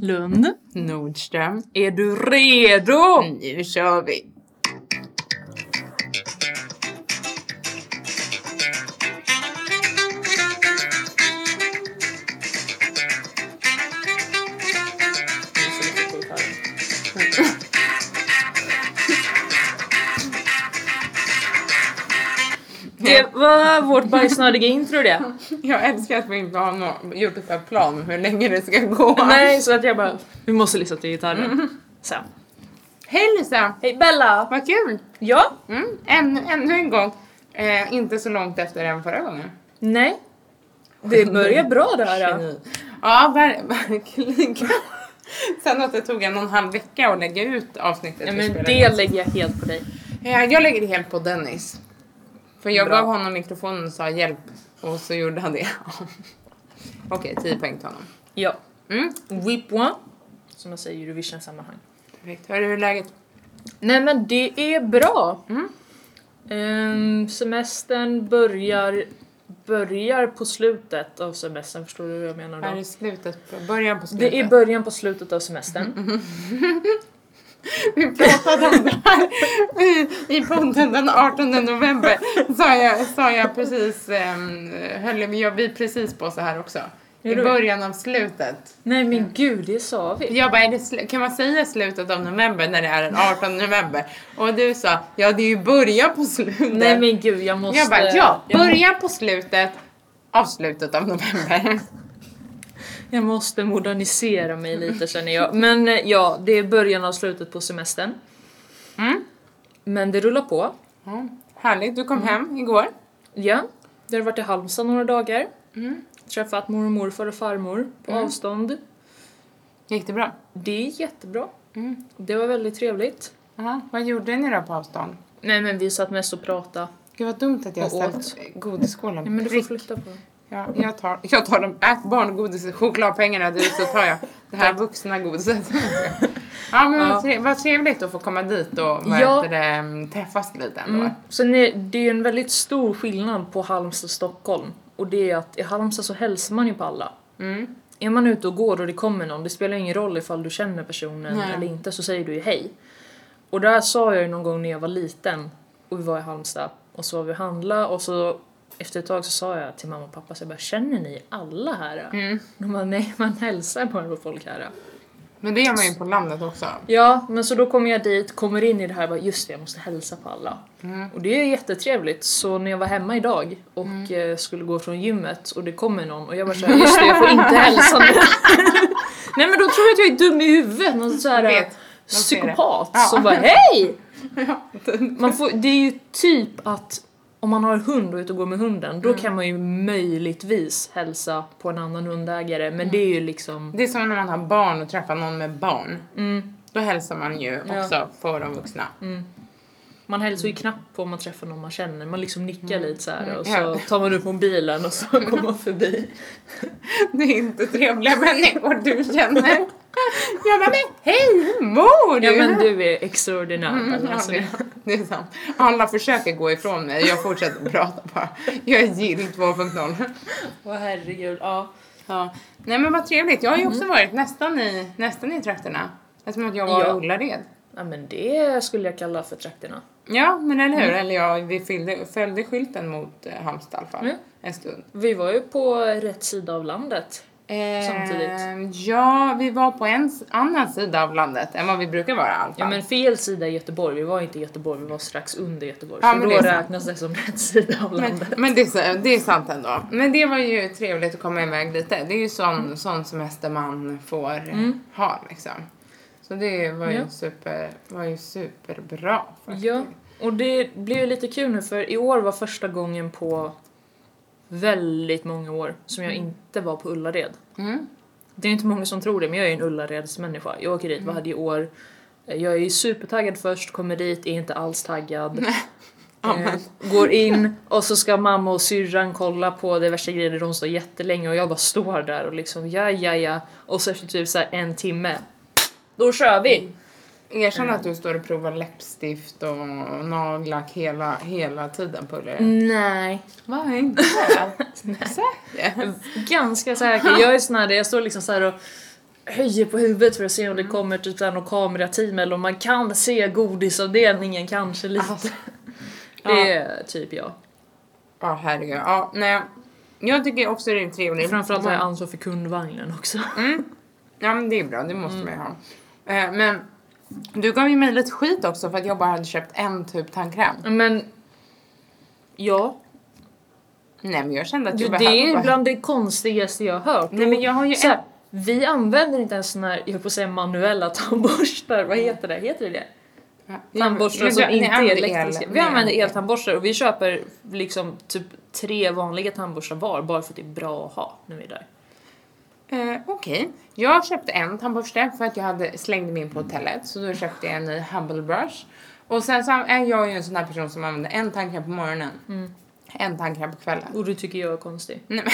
Lund. Mm. Nordström, är du redo? Nu kör vi! Det var vårt bajsnödiga intro det. Jag älskar att vi inte har nå- gjort upp en plan om hur länge det ska gå. Nej, så att jag bara, vi måste lyssna till gitarren. Sen. Hej Lisa! Mm. Hej Bella! Vad kul! Ja? Mm. Än, ännu en gång. Eh, inte så långt efter än förra gången. Nej. Det börjar bra det här. ja. Ja, ver- verkligen. Sen att det tog en och en halv vecka att lägga ut avsnittet. Ja, vi men spelade det lägger jag helt på dig. Eh, Jag lägger det helt på Dennis. För jag Bra. gav honom mikrofonen och sa hjälp och så gjorde han det. Okej, 10 poäng till honom. Ja. Mm. Whip one. Som jag säger i Eurovision-sammanhang. Perfekt. Hörru, hur är läget? Nej men det är bra. Mm. Ehm, semestern börjar, börjar på slutet av semestern, förstår du hur jag menar då? Här i slutet, på- början på slutet. Det är början på slutet av semestern. Vi pratade om det här i, i podden den 18 november. Sa jag, sa jag precis, um, höll vi, jag, vi precis på så här också. I Gjorde vi? början av slutet. Nej men gud, det sa vi. Jag bara, är det sl- kan man säga slutet av november när det är den 18 november? Och du sa, ja det är ju början på slutet. Nej men gud, jag måste... jag bara, ja, jag, må- början på slutet av slutet av november. jag måste modernisera mig lite känner jag. Men eh, ja, det är början av slutet på semestern. Mm. Men det rullar på. Ja, Härligt, du kom Mm. hem igår. Ja, jag har varit i Halmstad några dagar. Mm. Träffat mormor, och morfar och farmor på avstånd. Gick det bra? Det är jättebra. Mm. Det var väldigt trevligt. Ja, vad gjorde ni då på avstånd? Nej men vi satt mest och pratade. Gud vad dumt att jag Och har ställt godisskålen Nej men du får prick. flytta på den. Ja, jag tar, jag tar de, ät barngodis, chokladpengarna du så tar jag det här vuxna godiset. Ja men Ja. Vad, tre, vad trevligt att få komma dit och vad Ja. heter det, mm, träffas lite ändå. Mm. Sen är det ju en väldigt stor skillnad på Halmstad och Stockholm. Och det är att i Halmstad så hälsar man ju på alla. Mm. Är man ute och går och det kommer någon, det spelar ingen roll ifall du känner personen Nej. eller inte, så säger du ju hej. Och där sa jag ju någon gång när jag var liten och vi var i Halmstad och så var vi och handla och så efter ett tag så sa jag till mamma och pappa så jag bara känner ni alla här? Mm. De bara nej man hälsar bara på folk här. Men det gör man ju på landet också. Ja men så då kommer jag dit, kommer in i det här och bara just det jag måste hälsa på alla. Mm. Och det är jättetrevligt så när jag var hemma idag och Mm. eh, skulle gå från gymmet och det kommer någon och jag bara såhär just det jag får inte hälsa nu. Nej men då tror jag att jag är dum i huvudet, någon såhär Jag eh, vet. De ser det. psykopat Ja. som bara hej! Ja. Man får, det är ju typ att om man har hund och är ute och går med hunden då Mm. kan man ju möjligtvis hälsa på en annan hundägare Mm. men det är ju liksom Det är som när man har barn och träffar någon med barn. mm, Då hälsar man ju Ja. också på de vuxna. man hälsar Mm. ju knappt på om man träffar någon man känner, man liksom nickar lite så här och Ja. Mm. så tar man upp mobilen och så går man förbi. Det är inte trevliga människor du känner. Jag bara, men hej, hur mår du? Ja men du är extraordinär. Mm, Bella, ja, alltså, det, det är sant. Alla försöker gå ifrån mig, jag fortsätter prata bara. Jag är Jill 2.0. Åh herregud, ja. Ja. Nej men vad trevligt, jag har ju också varit nästan i, nästan i trakterna. Eftersom att jag var Mm. Ja. i Ullared. ja men det skulle jag kalla för trakterna. Ja men eller hur, Mm. eller jag, vi fyllde, följde skylten mot eh, Halmstad i alla fall. Mm. En stund. Vi var ju på rätt sida av landet. Eh, Samtidigt. Ja, vi var på en s- annan sida av landet än vad vi brukar vara i alla fall. Ja men fel sida i Göteborg, vi var inte i Göteborg, vi var strax under Göteborg. Ja, så men då det är sant. räknas det som rätt sida av Men, landet. men det, är, så- det är sant ändå. Men det var ju trevligt att komma iväg lite. Det är ju sån, Mm. sån semester man får eh, ha liksom. Så det var ju, Ja. super, var ju superbra faktiskt. Ja, och det blev ju lite kul nu för i år var första gången på väldigt många år som jag inte var på Ullared. Mm. Det är inte många som tror det, men jag är en Ullaredsmänniska. Jag åker dit varje år. Eh, Jag är ju supertaggad först, kommer dit, är inte alls taggad. Eh, går in och så ska mamma och syrran kolla på diverse grejer, de står jättelänge och jag bara står där och liksom ja, ja, ja. Och så efter typ så här en timme, då kör vi! Erkänn Mm. att du står och provar läppstift och nagellack hela, hela tiden på Ullared. Mm. Nej, Vad inte Nej. Säker? ganska säker. Jag är sån här, där jag står liksom så här och höjer på huvudet för att se om Mm. det kommer typ så här något kamerateam eller om man kan se godisavdelningen kanske lite. Alltså, Det är typ jag. Ja, herregud. Ja, nej. Jag tycker också det är trevligt. Framförallt har jag ansvar för kundvagnen också. Mm. Ja men det är bra, det måste Mm. man ju ha. Eh, men du gav ju mig lite skit också för att jag bara hade köpt en typ tandkräm. Men ja, Nej men jag kände att det du behövde. är bland det konstigaste jag har hört. Typ Nej men jag har ju Så en. här, vi använder inte ens såna här, jag höll på att säga manuella tandborstar, vad heter det? Heter det det? Ja, Tandborstar men som du- ni inte är använder elektriska. el- vi ni använder el. eltandborstar och vi köper liksom typ tre vanliga tandborstar var bara för att det är bra att ha när vi är där. Eh, Okej, jag köpte en tandborste för att jag hade slängde min på hotellet så då köpte jag en ny Humble Brush. Och sen så är jag ju en sån här person som använder en tandkräm på morgonen, Mm. en tandkräm på kvällen. Och du tycker jag är konstig. Nej men,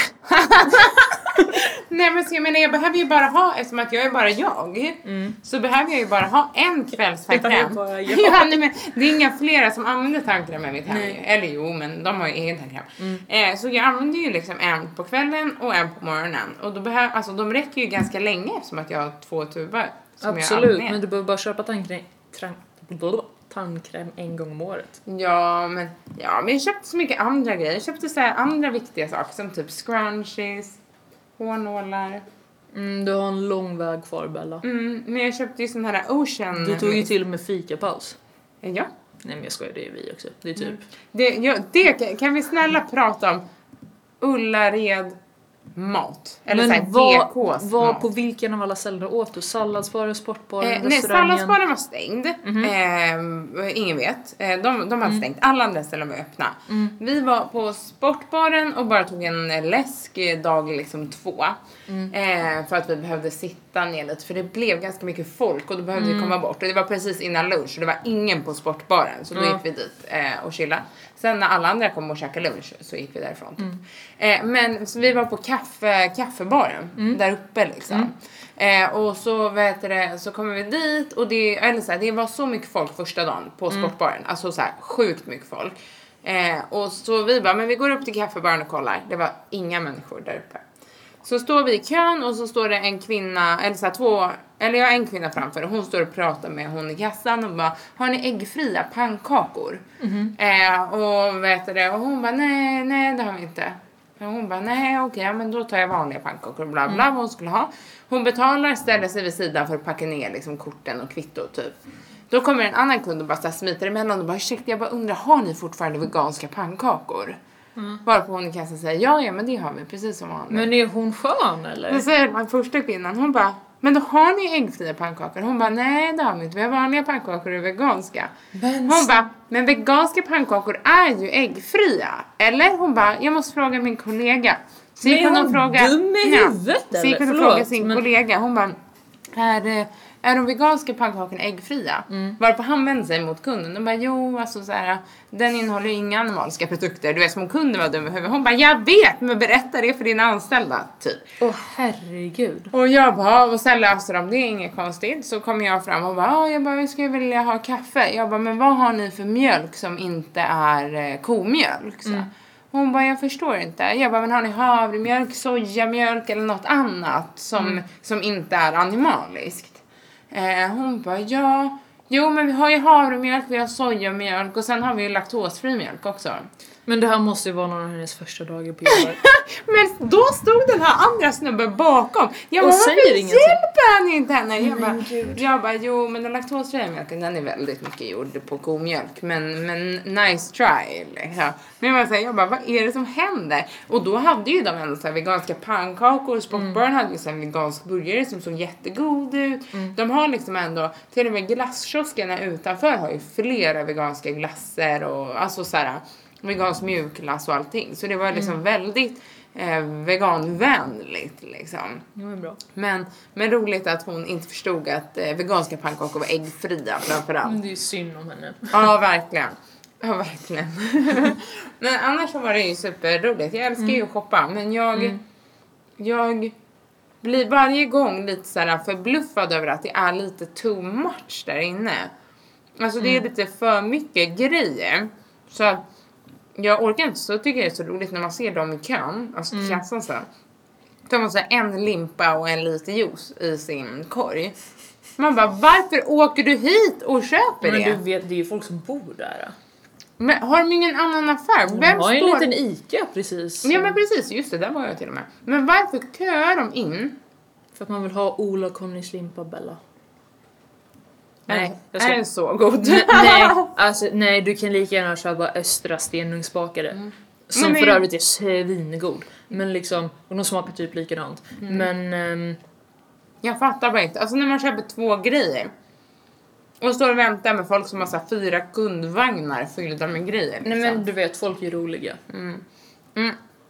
Nej, men så jag menar jag behöver ju bara ha, eftersom att jag är bara jag, så behöver jag ju bara ha en Jag kvällstandkräm. Mm. är bara jag. ja, nej, men det är inga flera som använder tandkräm i mitt hem. Nej. Mm. Eller jo, men de har ju egen tandkräm. Eh, så jag använder ju liksom en på kvällen och en på morgonen. Och då behöver, alltså de räcker ju ganska länge eftersom att jag har två tuber. Som jag Absolut, använder. men du behöver bara köpa tandkräm, tran- blablabla, tandkräm en gång om året. Ja men, ja, men jag köpte så mycket andra grejer. Jag köpte så här andra viktiga saker som typ scrunchies, hårnålar. Mm, du har en lång väg kvar Bella. Mm, men jag köpte ju sån här ocean... Du tog ju till och med fikapaus. Ja. Nej men jag skojar, det är vi också. Det är typ... Mm. Det, ja, det kan- kan vi snälla prata om Ullared mat? Eller såhär men vad, DKs vad mat. på vilken av alla ställen åt du? Salladsbaren, sportbaren, Eh, nej, restaurangen? Mhm. salladsbaren var stängd. Eh, ingen vet. Eh, de, de hade Mm. stängt. Alla andra ställen var öppna. Vi var på sportbaren och bara tog en eh, läsk eh, dag liksom två. Mm. Eh, för att vi behövde sitta ner lite för det blev ganska mycket folk och då behövde Mm. vi komma bort. Och det var precis innan lunch och det var ingen på sportbaren så då Ja. gick vi dit eh, och chillade. Sen när alla andra kom och käkade lunch så gick vi därifrån. Typ. Mm. Eh, men så vi var på kaffe, kaffebaren där uppe liksom. Mm. Eh, och så, vad heter det, så kommer vi dit och det, eller så här, det var så mycket folk första dagen på sportbaren. Alltså så här, sjukt mycket folk. Eh, och så vi bara, men vi går upp till kaffebaren och kollar. Det var inga människor där uppe. Så står vi i kön och så står det en kvinna, eller så här, två, eller jag har en kvinna framför och hon står och pratar med hon i kassan och bara Har ni äggfria pannkakor? Eh, och vet du det? Och hon bara nej, nej det har vi inte. Och hon bara nej okej ja, men då tar jag vanliga pannkakor och bla bla vad hon skulle ha. Hon betalar, ställer sig vid sidan för att packa ner liksom korten och kvitto typ. Då kommer en annan kund och bara så här smiter emellan och bara ursäkta jag bara undrar har ni fortfarande veganska pannkakor? Varpå hon i kassan säger ja ja men det har vi precis som vanligt. Men är hon skön Då eller? säger den första kvinnan, hon bara, men då har ni äggfria pannkakor? Hon bara, nej det har vi inte, vi har vanliga pannkakor och veganska. Men Hon bara, men veganska pannkakor är ju äggfria, eller? Hon bara, jag måste fråga min kollega. Så Men gick är hon och hon frågade, dum i huvudet, Så gick hon eller? och frågade Förlåt, sin men- kollega, hon bara, är, eh, är de veganska pannkakorna äggfria? Mm. Varpå han vände sig mot kunden och bara, jo alltså så här, den innehåller ju inga animaliska produkter. Du vet som om kunden var dum i huvudet. Hon bara, jag vet men berätta det för dina anställda, typ. Åh herregud. Och jag bara, och sen löste de det, inget konstigt. Så kom jag fram och bara, "Ja, jag bara, jag skulle vilja ha kaffe. Jag bara, men vad har ni för mjölk som inte är eh, komjölk? Så. Hon bara, jag förstår inte. Jag bara, men har ni havremjölk, sojamjölk eller något annat som, som inte är animaliskt? Eh, hon bara, ja. Jo, men vi har ju havremjölk, vi har sojamjölk och sen har vi ju laktosfri mjölk också. Men det här måste ju vara någon av hennes första dagar på jobbet. Men då stod den här andra snubben bakom. Jag Och bara, säger varför ingenting. hjälper han inte henne? Jag bara, jag bara, jo men den laktosfria mjölken den är väldigt mycket gjord på komjölk. Men, men nice try liksom. Men jag bara, så här, jag bara, vad är det som händer? Och då hade ju de ändå så här veganska pannkakor. Sportbaren hade ju så här vegansk burgare som såg jättegod ut. De har liksom ändå, till och med glasskioskerna utanför har ju flera veganska glasser och alltså så här vegansk mjukglass och allting. Så det var liksom väldigt eh, veganvänligt liksom. Det var ju bra. Men, men roligt att hon inte förstod att eh, veganska pannkakor var äggfria framförallt. Men det är ju synd om henne. Ja, verkligen. Ja, verkligen. men annars så var det ju superroligt. Jag älskar Mm. ju att shoppa, men jag, jag blir varje gång lite så här förbluffad över att det är lite too much där inne. Alltså det är Mm. lite för mycket grejer. Så att Mm. jag orkar inte, så tycker jag det är så roligt när man ser dem i kön, alltså kassan sen. De har så här en limpa och en liter juice i sin korg. Man bara, varför åker du hit och Men köper det? du vet, det är ju folk som bor där. Men har de ingen annan affär? De Vem har ju en står... liten ICA precis. Ja men precis, just det, där var jag till och med. Men varför köar de in? För att man vill ha Ola Connys limpa Bella. Nej, jag Är ska... den så god? Nej, nej, alltså, nej, du kan lika gärna köpa Östra Stenugnsbakade. Som Men det- för övrigt är svingod. Men liksom, och de smakar typ likadant. Men ehm, Jag fattar bara inte. Alltså när man köper två grejer och står och väntar med folk som har så här fyra kundvagnar fyllda med grejer. nej liksom. men du vet, folk är roliga. Mm.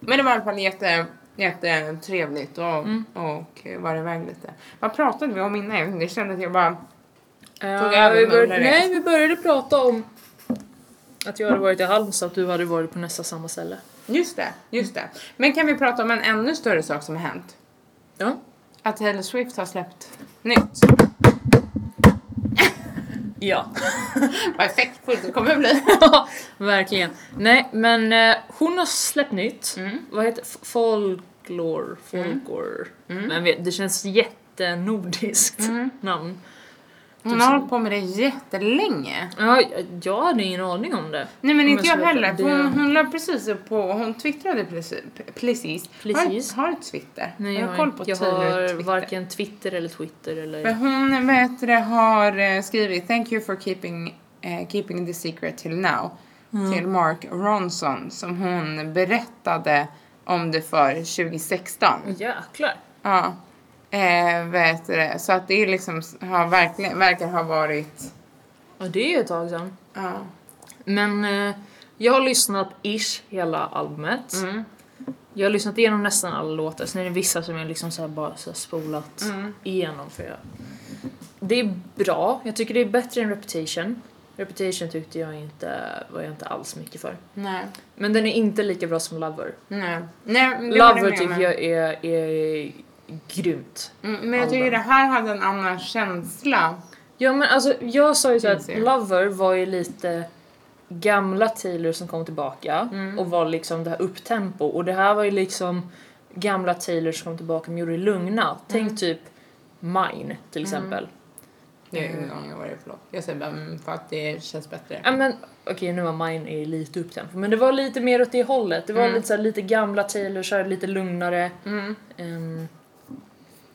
Men det var i alla fall jätte, jättetrevligt och, Mm. och var iväg lite. Vad pratade vi om innan? Det kändes jag bara... Tog Eh, över vi med började, Ullared. nej, vi började prata om att jag hade varit i Halmstad och du hade varit på nästa samma ställe. Just det, just det. Men kan vi prata om en ännu större sak som har hänt? Ja. Att Taylor Swift har släppt nytt. Ja. Vad effektfullt det kommer bli. Verkligen. Nej, men eh, hon har släppt nytt. Vad heter f- Folklore? Folklore? Men vet, det känns jättenordiskt namn. Hon har hållit på med det jättelänge. Ja, jag- jag hade ingen aning om det. Nej men Om inte jag ska vara heller. ärlig. För hon, hon la precis upp på, hon twittrade precis. precis. Precis. Har, har du Twitter? Nej, jag, jag har koll inte- på jag Taylor har Twitter. varken Twitter eller Twitter eller... Men hon vet du det, har eh, skrivit Thank you for keeping, eh, keeping the secret till now. Mm. Till Mark Ronson som hon berättade om det för 2016. Mm. Jäklar. Ja. Eh, vet du det. Så att det är liksom har verkligen, verkar ha varit... Ja, det är ju ett tag sedan. Ja. Men eh, jag har lyssnat ish hela albumet. Mm, Jag har lyssnat igenom nästan alla låtar, sen är det vissa som jag liksom så här bara så här spolat mm. igenom för jag. Det är bra, jag tycker det är bättre än Reputation. Reputation tyckte jag inte, var jag inte alls mycket för. Nej. Men den är inte lika bra som Lover. Nej. Nej men det håller Lover med om. tycker jag är, är grymt. Mm, men jag Album. tycker det här hade en annan känsla. Ja men alltså jag sa ju så här att Finns ju. Lover var ju lite gamla Taylor som kom tillbaka Mm. och var liksom det här upptempo och det här var ju liksom gamla Taylor som kom tillbaka men gjorde det lugna. Tänk typ Mine till exempel. Jag har ingen aning om vad det är för låt. Jag säger bara mm, för att det känns bättre. Ja men okej nu var Mine är lite upptempo men det var lite mer åt det hållet. Det var Mm. lite så här, lite gamla Taylor, så här, lite lugnare. Ehm,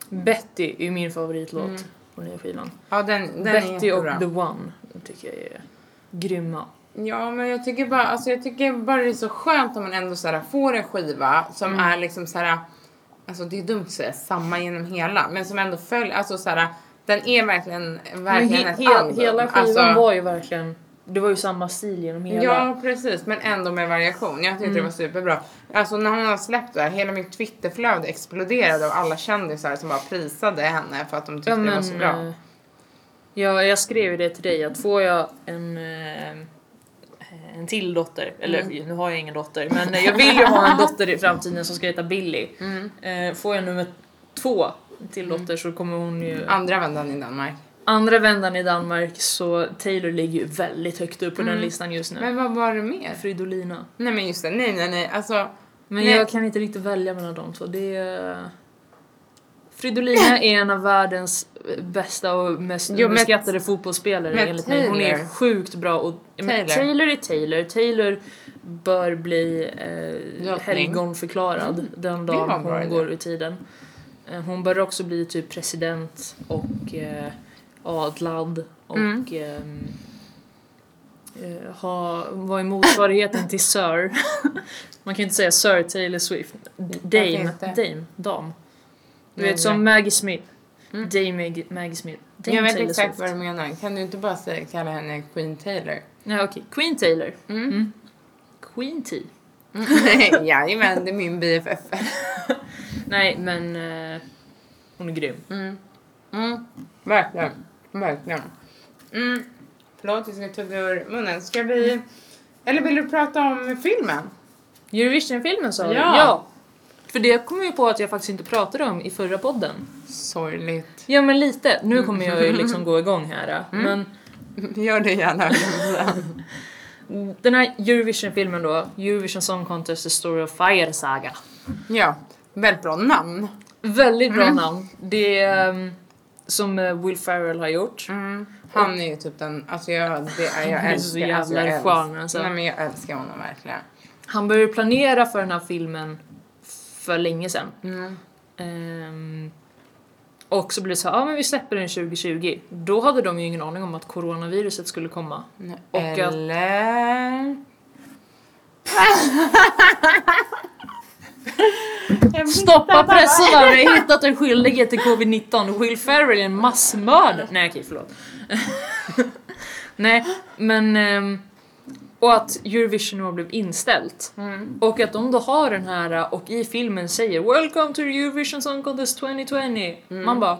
Betty är ju min favoritlåt på nya skivan. Ja Mm. den, den är Betty och jättebra. The One tycker jag är grymma. Ja men jag tycker bara, alltså jag tycker bara det är så skönt om man ändå så här, får en skiva som Mm. är liksom så här. Alltså det är dumt att säga samma genom hela men som ändå följer, alltså så här. Den är verkligen, Men verkligen he- ett hel- album. Hela skivan alltså, var ju verkligen, det var ju samma stil genom hela. Mm. Ja precis men ändå med variation. Jag tyckte det var superbra. Alltså när hon har släppt det här, hela mitt twitterflöde exploderade av alla kändisar som bara prisade henne för att de tyckte Ja, det var så bra. eh, Ja, jag skrev ju det till dig att får jag en, eh, en till dotter, eller Mm. nu har jag ingen dotter, men jag vill ju ha en dotter i framtiden som ska heta Billy. Eh, Får jag nummer två till Mm. dotter så kommer hon ju Andra vändan i Danmark. andra vändan i Danmark så Taylor ligger ju väldigt högt upp på den listan just nu. Mm. Men vad var det mer? Fridolina. Nej men just det, nej nej nej alltså. Men nej. jag kan inte riktigt välja mellan de två. Det är... Fridolina är en av världens eh, bästa och mest Jo, men- beskattade fotbollsspelare men enligt mig. Hon är Taylor. sjukt bra och men Taylor. Taylor är Taylor. Taylor bör bli eh, Drottning. helgonförklarad den Det var dagen en bra hon idé. går ur tiden. Eh, Hon bör också bli typ president och eh, adlad och Mm. ehm, eh, ha, vad är motsvarigheten till Sir? Man kan ju inte säga Sir Taylor Swift. D- Dame, inte. Dame, dam. Du Nej, vet som nej. Maggie Smith. Mm. Dame Maggie, Maggie Smith. Dame jag vet Taylor exakt vad Swift. du menar. Kan du inte bara säga, kalla henne Queen Taylor? Nej okej, Queen Taylor. Mm. Mm. Queen T. Jajamän, det är min BFF. Nej men eh, hon är grym. Mm. Mm. Verkligen. Verkligen. Mm. Förlåt, jag ska tugga ur munnen. Ska vi... Eller vill du prata om filmen? Eurovision-filmen sa du? Ja. För det kom jag ju på att jag faktiskt inte pratade om i förra podden. Sorgligt. Ja men lite, Mm. nu kommer jag ju liksom gå igång här. eh. Men Gör det gärna. mm, Den här Eurovision-filmen då, Eurovision Song Contest The Story of Fire Saga. ja. Väldigt bra namn. Väldigt bra namn. Det är ehm, som eh, Will Ferrell har gjort. Han är ju typ den, alltså jag, det, är- jag Mm. Han är så älskar, alltså jag jävla älskar, charmig, alltså. Nej men jag älskar honom verkligen. Han började planera för den här filmen för länge sedan. Mm. Ehm, och så blev det så här, ja ah, men vi släpper den 2020. Då hade de ju ingen aning om att coronaviruset skulle komma. Och att- Eller... Stoppa pressen där, vi har hittat en skyldighet till covid-19. Will Ferrell är en massmördare. Nej okej, förlåt. Nej, men... ehm, och att Eurovision då blev inställt. Mm. Och att de då har den här äh, och i filmen säger “Welcome to Eurovision Song Contest 2020”. Man bara...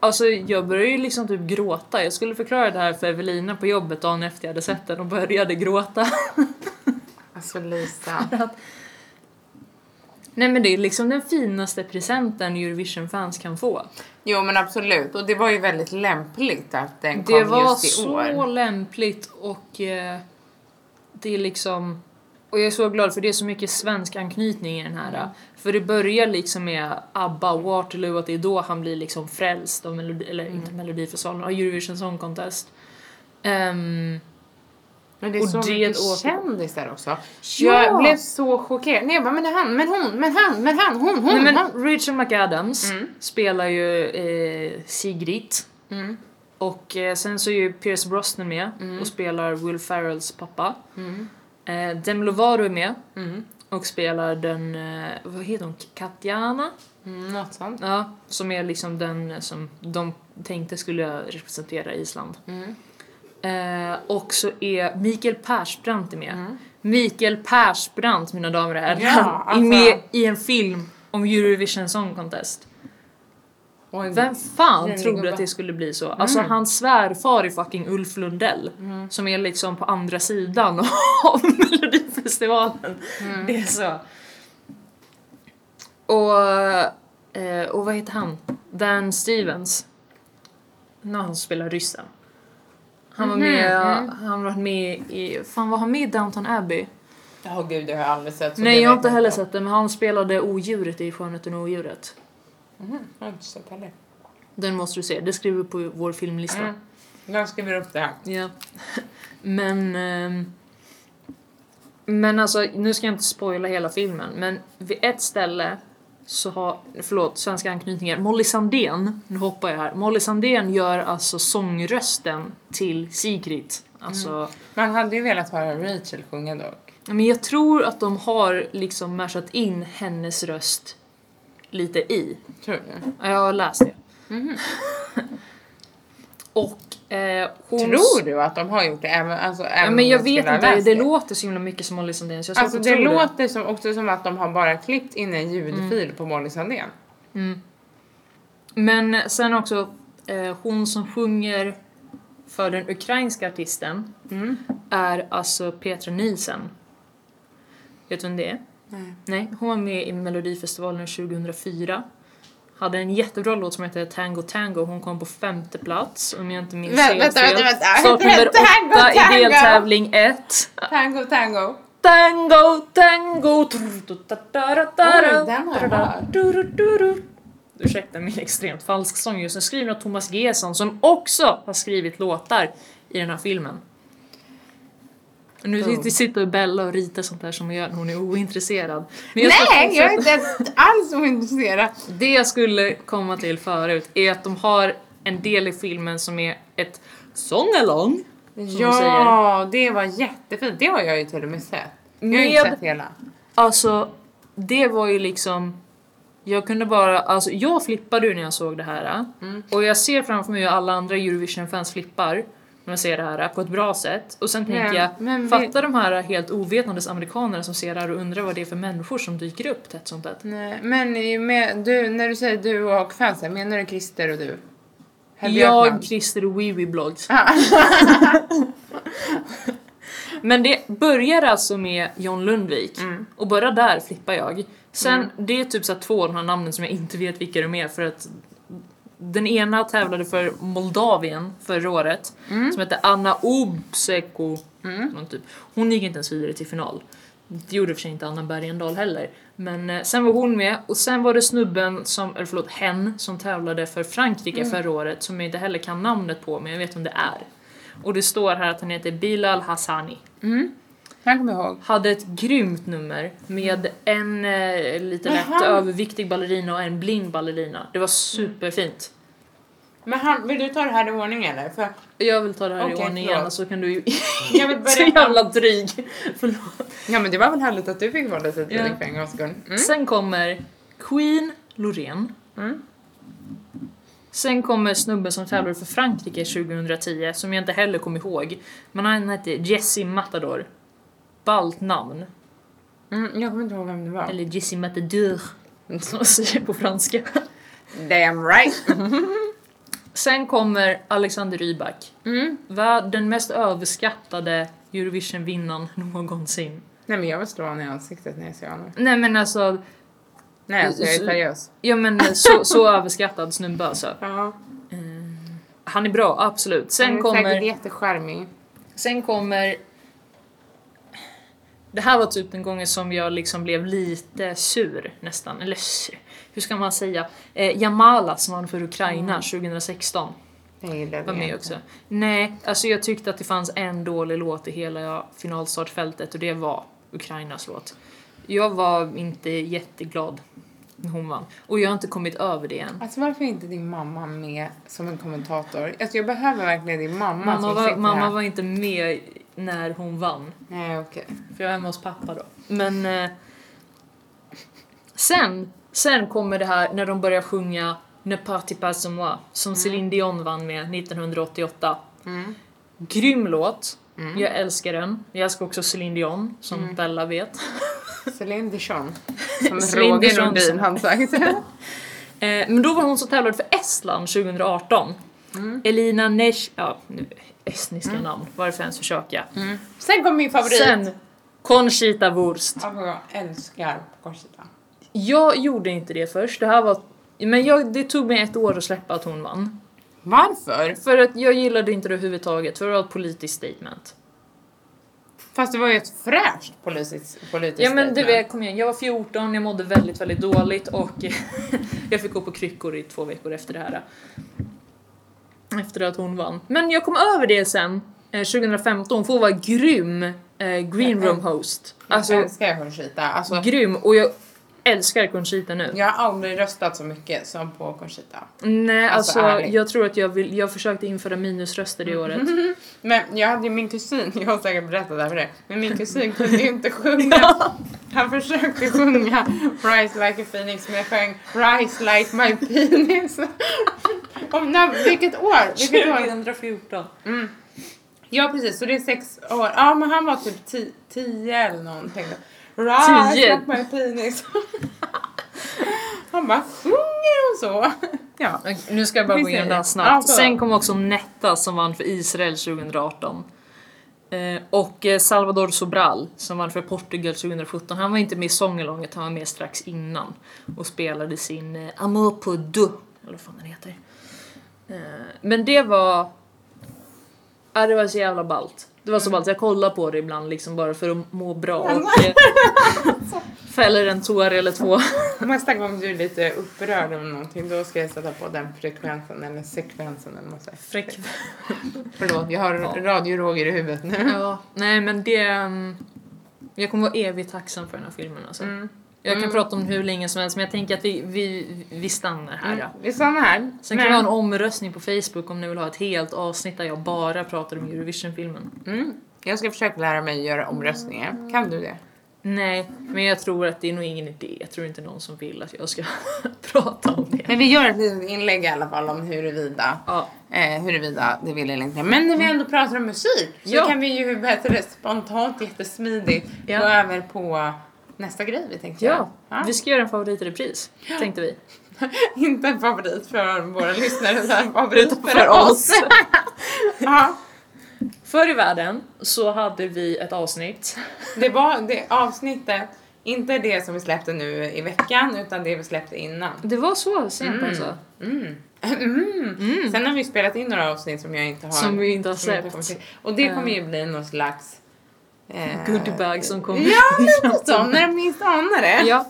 Alltså jag började ju liksom typ gråta. Jag skulle förklara det här för Evelina på jobbet dagen efter jag hade sett den och började gråta. Alltså Lisa. Nej men det är liksom den finaste presenten Eurovision-fans kan få. Jo men absolut, och det var ju väldigt lämpligt att den kom Det var just i så år. lämpligt och eh, det är liksom... Och jag är så glad för det är så mycket svensk anknytning i den här. eh. För det börjar liksom med ABBA och Waterloo, att det är då han blir liksom frälst av melodi, eller Mm. inte Melodifestivalen, av Eurovision Song Contest. Ehm, Men det är och så det mycket åker- kändisar också. Ja! Jag blev så chockerad. Nej jag bara, men han, men hon, men han, men han, hon, hon, nej han. men Rachel McAdams spelar ju eh, Sigrid. Mm. Och eh, sen så är ju Pierce Brosnan med och spelar Will Ferrells pappa. Mm. Eh, Demi Lovato är med Mm. och spelar den, eh, vad heter hon, Katjana? Mm, något sånt. Ja, som är liksom den som de tänkte skulle representera Island. Mm. Eh, och så är Mikael Persbrandt är med. Mm. Mikael Persbrandt, mina damer och herrar, Ja, alltså. är med i en film om Eurovision Song Contest. Och en- Vem fan Rullig trodde gubbe. att det skulle bli så? Alltså Mm. hans svärfar är fucking Ulf Lundell som är liksom på andra sidan av Melodifestivalen. Mm. Det är så. Och, eh, och vad heter han? Dan Stevens. När han spelar ryssen. Han var med, Mhm, mm. han var med i, fan var han med i Downton Abbey? Åh gud, det har jag aldrig sett. så Nej Alltså, det jag har vet inte heller sett det men han spelade odjuret i Skönheten och odjuret. Mm, jag har inte sett heller. Den måste du se, det skriver vi på vår filmlista. Mm. Jag skriver upp det här. Ja. Men... ehm, men alltså, nu ska jag inte spoila hela filmen, men vid ett ställe så har, förlåt, svenska anknytningar, Molly Sandén, nu hoppar jag här, Molly Sandén gör alltså sångrösten till Sigrid. Alltså, Man hade ju velat höra Rachel sjunga dock. men jag tror att de har liksom mashat in hennes röst lite i. Tror du? Ja, Jag har läst det. Och eh, hon... Tror du att de har gjort det? Även, alltså, även Ja, om men jag de vet skulle ha inte, det, läst låter så himla mycket som Molly Sandén så jag har Alltså svårt det att tro låter Som, också som att de har bara klippt in en ljudfil på Molly Sandén. det. Men sen också, eh, hon som sjunger för den ukrainska artisten Mm. är alltså Petra Nilsen. Vet du vem det är? Nej. Nej, hon var med i Melodifestivalen 2004. Hade en jättebra låt som heter Tango Tango, hon kom på femte plats om jag inte minns Vä- helt vänta, fel. vänta, vänta. Start nummer Tango, åtta i tango. deltävling ett. Tango tango. Tango, tango... Oj, den har jag hört. jag Ursäkta min extremt falsk sång just nu, skriven av Thomas Gesson som också har skrivit låtar i den här filmen. Nu sitter- sitter Bella och ritar sånt där som hon gör när hon är ointresserad. Men jag ska Nej, jag fortsätta- är inte alls ointresserad. det jag skulle komma till förut är att de har en del i filmen som är ett song-along. Ja, det var jättefint. Det har jag ju till och med sett. Jag har inte Med- sett hela. Alltså, det var ju liksom... Jag kunde bara, alltså jag flippade ju när jag såg det här. Mm. Och jag ser framför mig hur alla andra Eurovision-fans flippar när de ser det här på ett bra sätt. Och sen tänker Men- jag, men vi- fatta de här helt ovetandes amerikanerna som ser det här och undrar vad det är för människor som dyker upp tätt som tätt. Nej, men i- med, du, när du säger du och fansen, menar du Christer och du? Herr Björkman? Jag, Christer och Wee Blogs. Men det börjar alltså med John Lundvik och bara där flippar jag. Sen, det är typ så här två av de här namnen som jag inte vet vilka de är för att den ena tävlade för Moldavien förra året som hette Anna Obseko. Någon typ. Hon gick inte ens vidare till final. Det gjorde i och för sig inte Anna Bergendahl heller. Men eh, sen var hon med och sen var det snubben, som, eller förlåt hen, som tävlade för Frankrike Mm. förra året som jag inte heller kan namnet på men jag vet vem det är. Och det står här att han heter Bilal Hassani. Mm. Jag kommer ihåg. Hade ett grymt nummer med en eh, lite lätt Jaha. överviktig ballerina och en blind ballerina. Det var superfint. Men han, vill du ta det här i ordning eller? För Jag vill ta det här i Okej, ordning förlåt. gärna så kan du ju... jag vill så börja. jävla dryg! Förlåt. Ja men det var väl härligt att du fick vara lite tidig Ja. för en gångs skull. Mm. Sen kommer Queen Loreen. Mm. Sen kommer snubben som tävlade för Frankrike 2010, som jag inte heller kommer ihåg. Men han hette Jesse Matador. Ballt namn. Mm, jag kommer inte ihåg vem det var. Eller Jesse Matador, som man säger på franska. Damn right! Sen kommer Alexander Rybak. Mm. Vär- Den mest överskattade Eurovision-vinnaren någonsin. Nej men jag vill slå honom i ansiktet när jag ser honom. Nej men alltså, Nej alltså jag är Så- seriös. ja men så, så överskattad snubbe alltså. Ja. Han är bra, absolut. Han Sen är kommer... säkert jättecharmig. Sen kommer... Det här var typ den gången som jag liksom blev lite sur nästan, eller sur. hur ska man säga? Eh, Jamala som vann för Ukraina Mm. 2016 Jag gillar det. var med också. Nej, alltså jag tyckte att det fanns en dålig låt i hela finalstartfältet och det var Ukrainas låt. Jag var inte jätteglad när hon vann och jag har inte kommit över det än. Alltså varför är inte din mamma med som en kommentator? Alltså jag behöver verkligen din mamma, Mamma som var, sitter mamma här. var inte med när hon vann. Nej okej. För jag är hemma hos pappa då. Men eh, sen, sen kommer det här när de börjar sjunga Ne parti pas som moi som Céline Dion vann med 1988. Mm. Grym låt. Jag älskar den. Jag älskar också Céline Dion som Bella vet. Céline Dion. Som Céline Roger Dion. Nordin han sagt. Eh, men då var hon som tävlade för Estland 2018. Mm. Elina Nesh... Ja, nu, estniska namn. Varför ens försöka? Sen kom min favorit. Sen Conchita Wurst. Alltså, jag älskar Korsita. Jag gjorde inte det först. Det här var... Men jag, det tog mig ett år att släppa att hon vann. Varför? För att jag gillade inte det överhuvudtaget, för det var ett politiskt statement. Fast det var ju ett fräscht politiskt, politiskt ja men du statement. vet, kom igen, jag var 14, jag mådde väldigt, väldigt dåligt och jag fick gå på kryckor i två veckor efter det här. Efter att hon vann. Men jag kom över det sen, eh, 2015, för hon var grym eh, green room host. jag Alltså älskar Conchita. Alltså, grym, och jag älskar Conchita nu. jag har aldrig röstat så mycket som på Conchita. Nej alltså, Alltså, ärligt. Mm. jag tror att jag vill, jag försökte införa minusröster det året. Men jag hade ju min kusin, jag har säkert berättat det här för dig, men min kusin kunde ju inte sjunga. Han försökte sjunga Rise like a phoenix men jag sjöng Rise like my penis. Om när, vilket år? Vilket år? 2014. Mm. Ja precis, så det är sex år. Ja men han var typ ti- tio eller någonting. Rise Tio? like my penis. Han bara, sjunger hon så? Ja. Okej, Nu ska jag bara Vi gå igenom ser. det här Ja, snabbt. förlåt. Sen kom också Netta som vann för Israel 2018. Eh, och eh, Salvador Sobral som vann för Portugal 2017. Han var inte med i Sångelånget, han var med strax innan. Och spelade sin eh, Amor på du, eller vad fan den heter. Eh, men det var... Ja, det var så jävla ballt. Det var så ballt, jag kollar på det ibland liksom bara för att må bra och eh, fäller en tår eller två. Nästa gång du är lite upprörd över någonting då ska jag sätta på den frekvensen eller sekvensen eller vad man säger. Fräck Förlåt, jag har Ja. radio-Roger i huvudet nu. Ja, nej men det... mm, Jag kommer vara evigt tacksam för den här filmen alltså. Jag kan Mm. prata om hur länge som helst men jag tänker att vi, vi, vi stannar här. Mm. då. Vi stannar här. Sen kan vi ha en omröstning på Facebook om ni vill ha ett helt avsnitt där jag bara pratar om Eurovision-filmen. mm. Jag ska försöka lära mig att göra Mm. omröstningar. Kan du det? Nej, men jag tror att det är nog ingen idé. Jag tror inte någon som vill att jag ska prata om det. Men vi gör ett litet inlägg i alla fall om huruvida, Ja, eh, huruvida det vill eller inte. Men när vi ändå pratar om musik så Ja. kan vi ju vad heter det, spontant jättesmidigt Ja. gå över på nästa grej vi tänkte göra. ja. vi ska göra en favoritrepris, tänkte vi. Inte en favorit för våra lyssnare utan en favorit för, oss. ja. Förr i världen så hade vi ett avsnitt Det var det avsnittet, inte det som vi släppte nu i veckan utan det vi släppte innan. Det var så sent alltså. Mm. Mm. Sen har vi spelat in några avsnitt som jag inte har, Som vi inte har som jag släppt. kommit till. Och det kommer ju bli någon slags... Eh, Goodiebag som kom Ja, lite så. När de minst anar det. liksom. Ja,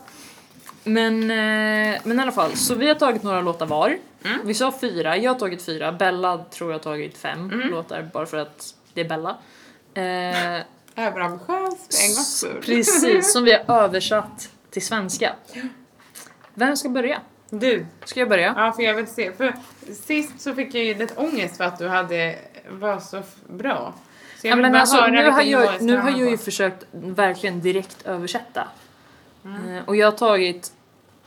Men, eh, men i alla fall, så vi har tagit några låtar var. Mm. Vi sa fyra, jag har tagit fyra, Bella tror jag har tagit fem Mm. låtar bara för att det är Bella. Eh, Överambitiöst en gång s- för. precis, som vi har översatt till svenska. Vem ska börja? Du. Ska jag börja? Ja, för jag vill se. För sist så fick jag ju lite ångest för att du hade var så f- bra. Så Ja, vill men bara alltså, höra nu, vilken har nivå jag, ska nu har hamna jag ju på. försökt verkligen direkt översätta. Eh, Och jag har tagit,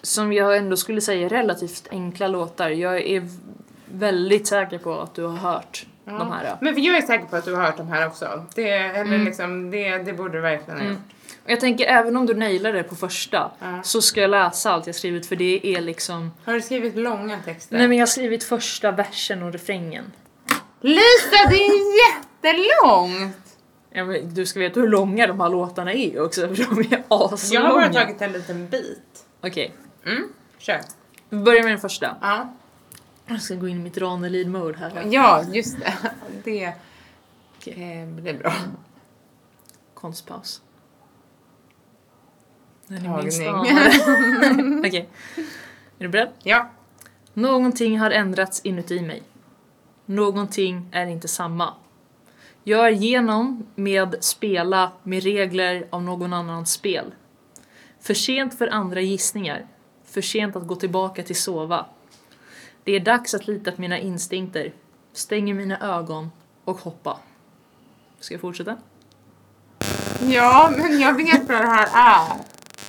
som jag ändå skulle säga, relativt enkla låtar. Jag är v- väldigt säker på att du har hört Ja. de här. Men för jag är säker på att du har hört de här också. Det, eller Mm. liksom, det, det borde du verkligen ha Mm. gjort. Och jag tänker även om du nailar det på första Ja. så ska jag läsa allt jag skrivit för det är liksom... Har du skrivit långa texter? Nej men jag har skrivit första versen och refrängen. Lisa, det är jättelångt! Ja, men du ska veta hur långa de här låtarna är också för de är aslånga. jag har bara tagit en liten bit. Okej, Mm, kör. vi börjar med den första. Ja, Jag ska gå in i mitt Ranelid-mode här. ja just det. Det eh, blir bra. Konstpaus. Den är minst Tagning. anad. Okej. Är du beredd? Ja. Någonting har ändrats inuti mig. Någonting är inte samma. Jag är genom med spela med regler av någon annans spel. För sent för andra gissningar. För sent att gå tillbaka till sova. Det är dags att lita på mina instinkter. Stänger mina ögon och hoppa. Ska jag fortsätta? ja, men jag vet vad det här är.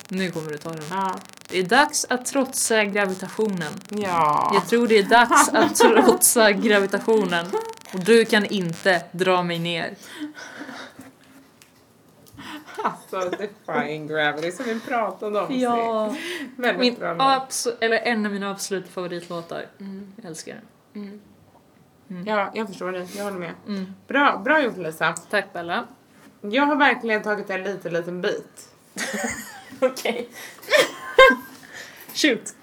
Nu kommer du ta den. Ja. Det är dags att trotsa gravitationen. ja. Jag tror det är dags att trotsa gravitationen. Och du kan inte dra mig ner. Alltså, Defying Gravity som vi pratade om Ja, sist. Väldigt min bra låt. abso- eller en av mina absoluta favoritlåtar. Mm. Jag älskar den. Ja, jag förstår det. Jag håller med. Mm. Bra, bra gjort Lisa. Tack Bella. Jag har verkligen tagit en liten, liten bit. Okej. Shoot.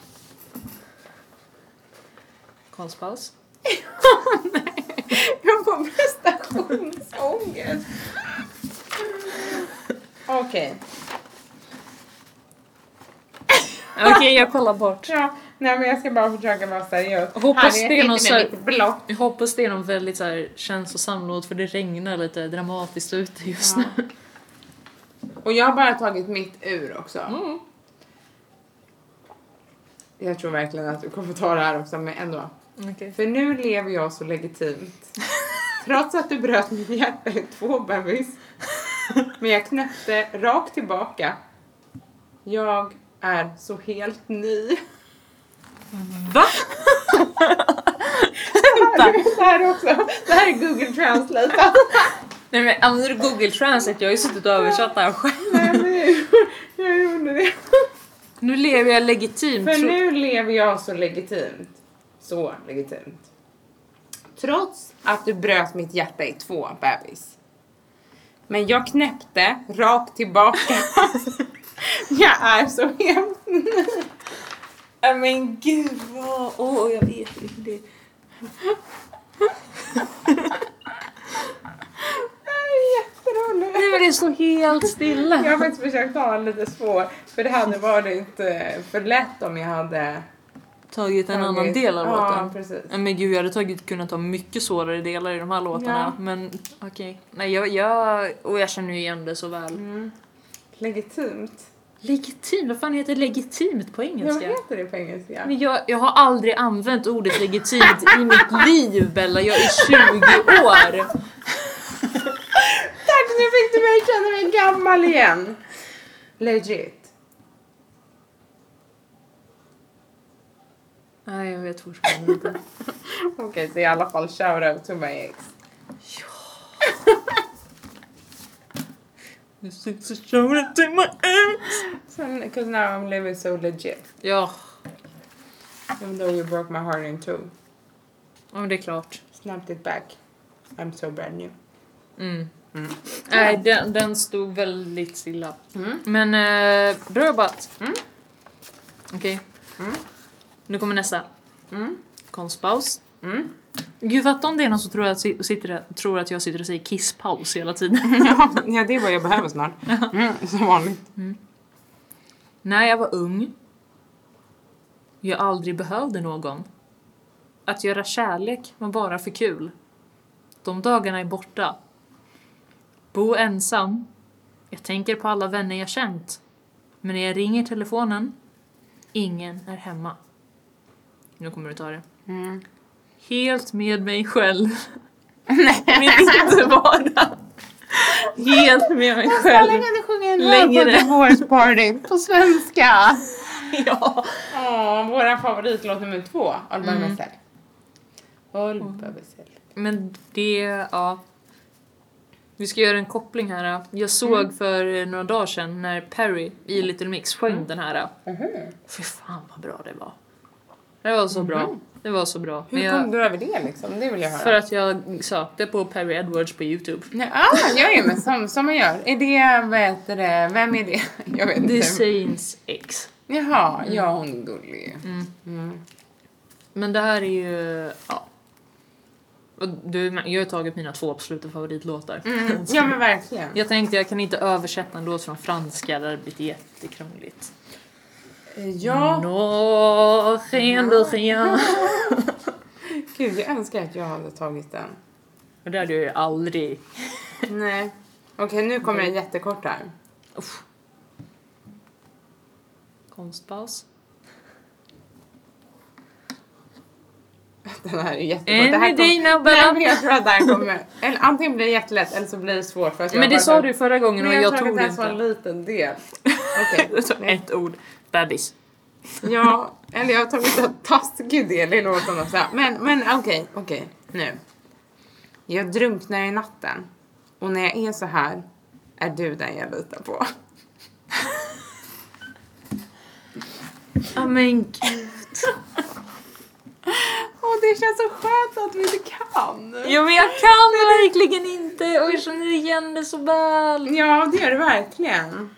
Konstpaus. Jag får prestationsångest. Okej. Okej, jag kollar bort. Ja, nej men jag ska bara försöka vara seriös. Hoppas Här, det är jag någon sitter med så- mitt block. Jag hoppas det är någon väldigt så här, känslosam låt för det regnar lite dramatiskt ute just nu. Och jag har bara tagit mitt ur också. Jag tror verkligen att du kommer ta det här också, men ändå. Ah. Okej. För nu lever jag så legitimt. Trots att du bröt mitt hjärta i två bebis. Men jag knäppte rakt tillbaka. Jag är så helt ny. Va? det här är också, det här är Google Translate. Nej men använder du google translate? Jag har ju suttit och översatt det här själv. Nej, men jag gjorde- jag gjorde det. Nu lever jag legitimt. För tro- nu lever jag så legitimt. Så legitimt. Trots att du bröt mitt hjärta i två, bebis. Men jag knäppte rakt tillbaka. jag är så hemskt Nej men gud vad... Åh jag vet inte. Det... jätterolig. Nej men det står helt Jag stilla. har faktiskt försökt ha en lite svår, för det hade varit eh, för lätt om jag hade... Tagit en annan tagit- del av Ja, låten. precis. Nej men gud jag hade tagit, kunnat ta mycket svårare delar i de här låtarna. Ja. Men okej. Nej jag, jag... Och jag känner ju igen det så väl. Mm. Legitimt. Legitimt? Vad fan heter legitimt på Ja, Vad engelska? heter det på engelska? Men jag, jag har aldrig använt ordet legitimt i mitt liv Bella, jag är 20 år! Tack, nu fick du mig känna mig gammal igen. Legit. Nej jag vet fortfarande inte. Okej, så i alla fall shoutout to my ex. Sen, cause now I'm living so legit. Ja, Even though you broke my heart in two. ja, men det är klart. Snapped it back. I'm so brand new. Mm. Mm. Nej, den, den stod väldigt stilla. Mm. Men eh, bra jobbat! Mm. Okej. Mm. Nu kommer nästa. Mm. Konstpaus. Mm. Gud fatta om det är någon som tror att, si- sitter, tror att jag sitter och säger kisspaus hela tiden. ja, ja, det är vad jag behöver snart. Mm, som vanligt. När jag var ung jag aldrig behövde någon. Att göra kärlek var bara för kul. De dagarna är borta. Bo ensam. Jag tänker på alla vänner jag känt. Men när jag ringer telefonen, ingen är hemma. Nu kommer du ta det. Mm. Helt med mig själv. Mitt inte vardag. Helt med mig Snälla själv. kan du sjunga en Längre. Längre. Divorce Party på svenska? Ja. Åh, våra favoritlåt nummer två, All by myself. All by myself. Men det, ja. Vi ska göra en koppling här. Jag såg Mm. för några dagar sedan när Perry i Little Mix sjöng Mm. den här. Mm-hmm. Fy fan vad bra det var. Det var så bra. Det var så bra. Men Mm-hmm. Hur jag, kom du över det liksom? Det vill jag höra. för att jag sökte på Perry Edwards på Youtube. Nej, ah, ja, ja, men som, som man gör. Är det, vad heter det, vem är Mm. det? Jag vet Det är inte. Saints X. Jaha, ja hon är gullig. Mm. Men det här är ju, ja. Och Du, jag har tagit mina två absoluta favoritlåtar. Mm. Ja men verkligen. Jag tänkte jag kan inte översätta en låt från franska, det hade blivit jättekrångligt. Ja, Nå, rien de rien. gud jag önskar att jag hade tagit den. Och det hade jag ju aldrig. Nej. Okej, nu kommer en jättekort här. Uff. Konstpaus. Den här är jättekort. det En här i kom... dina Eh, Nej, men bara. jag tror att det här kommer... Eller, antingen blir det jättelätt eller så blir det svårt. För att jag Men det bara- sa du förra gången Men och jag, jag tror att tror det det här var en inte. liten del. Okej. Det står Ett ord. Bebis. Ja, eller jag har tagit en taskig del i låten också. Men, men okej, okej, nu. Jag drunknar i natten och när jag är så här är du den jag litar på. Ja men gud. Och det känns så skönt att vi inte kan. Ja men jag kan verkligen inte och jag känner igen det så väl. Ja, det gör det verkligen.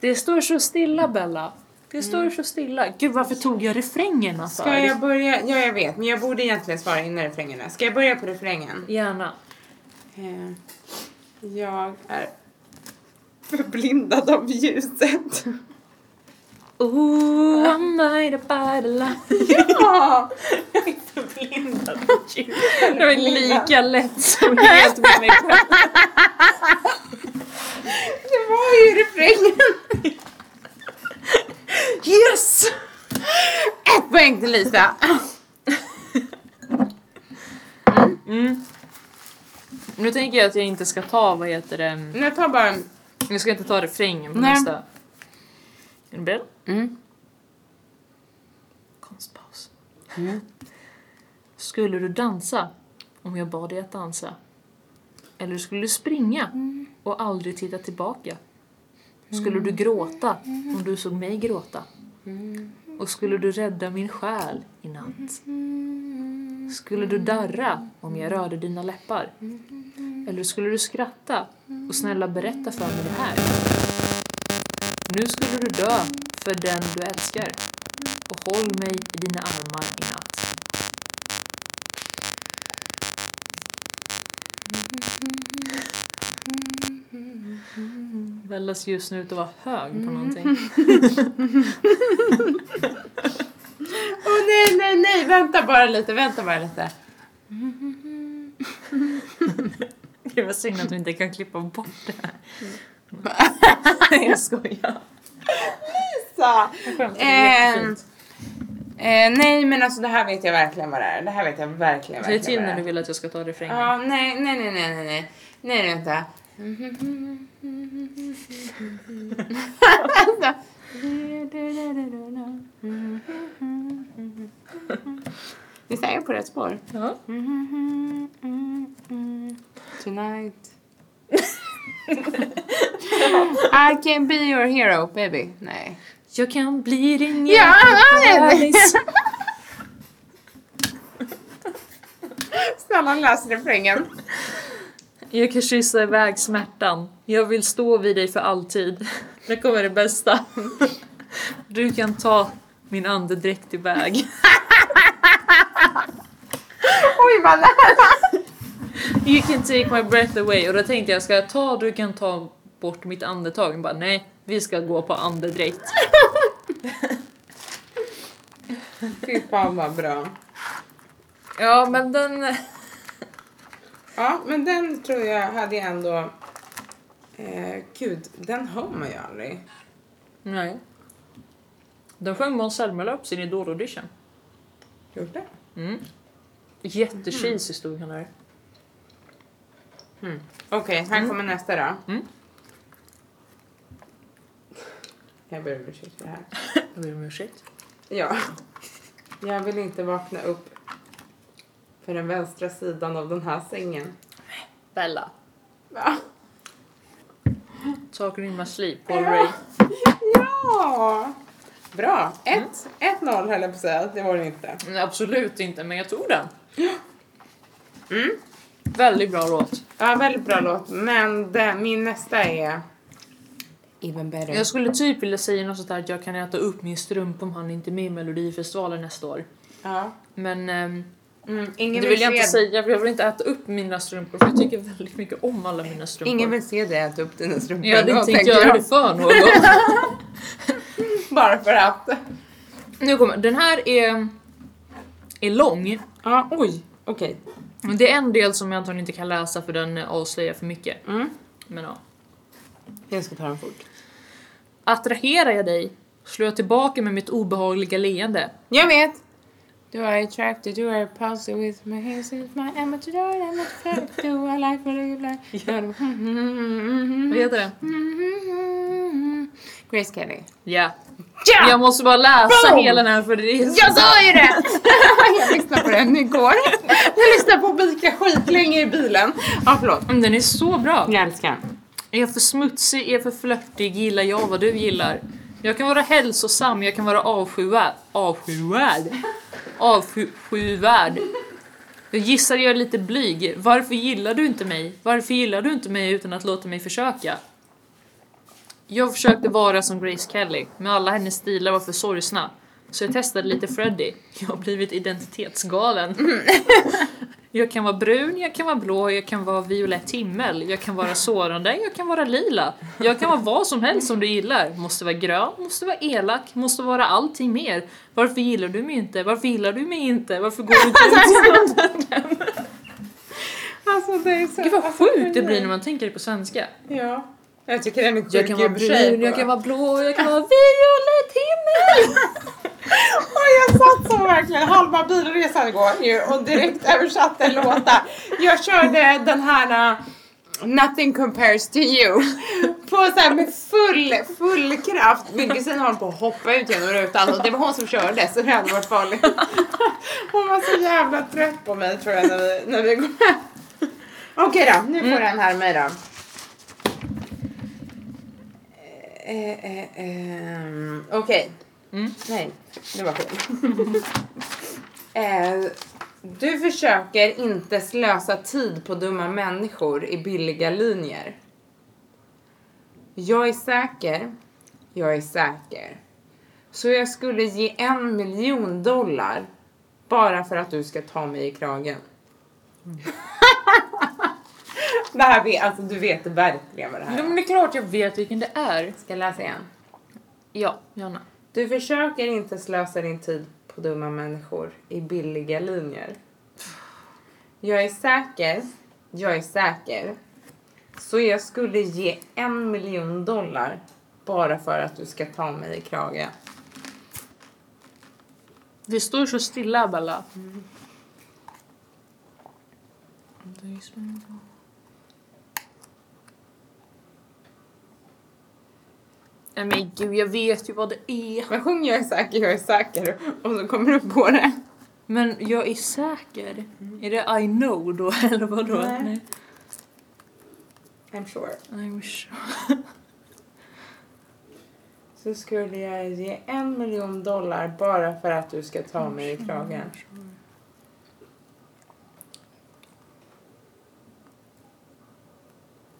Det står så stilla Bella. Det står så stilla. Gud varför tog jag alltså? refrängerna för? Mm. Ska jag börja? Ja, jag vet, men jag borde egentligen svara innan refrängerna. Ska jag börja på refrängen? Gärna. Eh, Jag är förblindad av ljuset. Ooh, Oh, I'm made up by the light. Ja! förblindad Det var lika lätt som helt med mig själv. Det var ju refrängen! Yes! Ett poäng till Lisa! Mm. Nu tänker jag att jag inte ska ta, vad heter det, Men jag tar bara... jag ska inte ta refrängen på Nej. nästa. Är du beredd? Mm. Konstpaus. Skulle du dansa om jag bad dig att dansa? Eller skulle du springa och aldrig titta tillbaka? Skulle du gråta om du såg mig gråta? Och skulle du rädda min själ i natt? Skulle du darra om jag rörde dina läppar? Eller skulle du skratta och snälla berätta för mig det här? Nu skulle du dö för den du älskar och håll mig i dina armar i natt. Bella ser just nu ut att vara hög Mm. på någonting. Åh nej, nej, nej, vänta bara lite, vänta bara lite. Det var synd att vi inte kan klippa bort det Mm. här. Jag skojar. Så. Skämt, det Eh, är jättefint. Eh, nej, men alltså det här vet jag verkligen vad det är. Det här vet jag verkligen, Säg verkligen till vad när det du är. vill att jag ska ta refrängen. Ja, nej, nej, nej, nej, nej, nej, nej, vänta. Visst är jag på rätt spår? Ja. Tonight. I can be your hero, baby. Nej. Jag kan bli din Ja, jävla nej. bebis. Snälla läs refrängen. Jag kan kyssa iväg smärtan. Jag vill stå vid dig för alltid. Nu kommer det bästa. Du kan ta min andedräkt iväg. Oj, vad nära. You can take my breath away. Och då tänkte jag, ska jag ta du kan ta bort mitt andetag. Jag bara, nej, vi ska gå på andedräkt. Fy fan vad bra. Ja, men den... Ja, men den tror jag hade jag ändå... Eh, gud, den hör man ju aldrig. Nej. Den sjöng Måns Zelmerlöw upp sin Idol-audition. Gjort det? Mm. Jättecheesy stod han där. Okej, här kommer nästa då. Mm. Jag ber om ursäkt för det här. Jag ber om ursäkt. Ja. Jag vill inte vakna upp för den vänstra sidan av den här sängen. Bella. Va? Saker in my sleep, Paul Ray. Ja! Bra! 1-0 höll jag på att säga, det var det inte. Nej, absolut inte, men jag tog den. Mm. Väldigt bra låt. Ja, väldigt bra låt. Men den, min nästa är... Even better. Jag skulle typ vilja säga något sånt här att jag kan äta upp min strumpa om han inte är med i Melodifestivalen nästa år. Ja. Men ehm, Mm, ingen, det vill vill jag inte se, säga för jag vill inte äta upp mina strumpor för jag tycker väldigt mycket om alla mina strumpor. ingen vill se dig äta upp dina strumpor. jag hade då, inte tänkt tänker göra jag. det för någon. Bara för att. nu kommer den här är, är lång. Ja, oj. Okej. Men det är en del som jag antagligen inte kan läsa för den avslöjar för mycket. Mm. Men ja. Jag ska ta den fort. Attraherar jag dig slår jag tillbaka med mitt obehagliga leende. Jag vet! Do I attract you? Do I repulse you with my hands? With my amateur I'm attracted Do I like what I like? Vad Mm. heter det? Grace Kelly. Ja. Ja! Jag måste bara läsa Boom! hela den här för det är så- Jag sa ju det! jag lyssnade på den igår. Jag lyssnade på Bika skitlänge i bilen. Ja, förlåt. Mm, Den är så bra! Jag älskar den. Är jag för smutsig? Är jag för flörtig? Gillar jag vad du gillar? Jag kan vara hälsosam, jag kan vara avskyvärd. Avskyvärd? Avskyvärd. Jag gissar jag är lite blyg. Varför gillar du inte mig? Varför gillar du inte mig utan att låta mig försöka? Jag försökte vara som Grace Kelly, men alla hennes stilar var för sorgsna. Så jag testade lite Freddy. Jag har blivit identitetsgalen. Jag kan vara brun, jag kan vara blå, jag kan vara violett himmel, jag kan vara sårande, jag kan vara lila. Jag kan vara vad som helst som du gillar. Måste vara grön, måste vara elak, måste vara allting mer. Varför gillar du mig inte? Varför gillar du mig inte? Varför går du inte ut? Alltså det är så... Gud vad alltså, sjukt det blir när man tänker det på svenska. Ja. Jag tycker den är sjuk Jag kan vara i och för sig. brun, jag kan vara blå, jag kan vara violett himmel. Och jag satt så verkligen halva bilresan igår ju och direkt översatte låtar. Jag körde den här uh, Nothing compares to you. På så här med full, full kraft. Min kusin håller på att hoppa ut genom rutan och det var hon som körde så det hade varit farligt. Hon var så jävla trött på mig tror jag när vi, när vi kom hem. Okej då, nu får den här mig då. Eh, eh, ehm, Okej. Mm. Nej, det var fel. eh, du försöker inte slösa tid på dumma människor i billiga linjer. Jag är säker. Jag är säker. Så jag skulle ge en miljon dollar bara för att du ska ta mig i kragen. Mm. det här vet, alltså du vet verkligen vad det här Ja är. men det är klart jag vet vilken det är. Ska jag läsa igen? Ja, Johanna. Du försöker inte slösa din tid på dumma människor i billiga linjer. Jag är säker, jag är säker. Så jag skulle ge en miljon dollar bara för att du ska ta mig i kragen. Det står så stilla Bella. Nej men gud, jag vet ju vad det är. Men sjung jag är säker, jag är säker och så kommer du på det. Men jag är säker. Är det I know då eller vadå? Nej. I'm sure. I'm sure. Så skulle jag ge en miljon dollar bara för att du ska ta mig i kragen.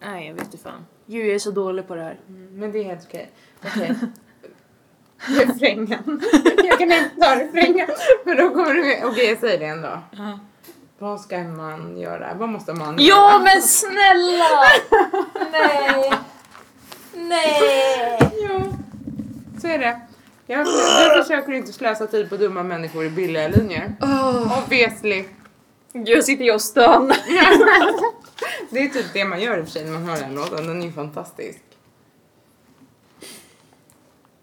Nej jag vet inte fan. Gud jag är så dålig på det här. Mm, Men det är helt okej. Okej. refrängen. Jag kan inte ta refrängen. Men då kommer du med. Okej, jag säger det ändå. Vad ska man göra? Vad måste man Ja göra? men snälla! Nej! Nej! Ja, så är det. Jag, jag försöker inte slösa tid på dumma människor i billiga linjer. Oh, Obviously. gud, sitter jag och stönar. Det är typ det man gör i och för sig när man hör den låten. Den är ju fantastisk.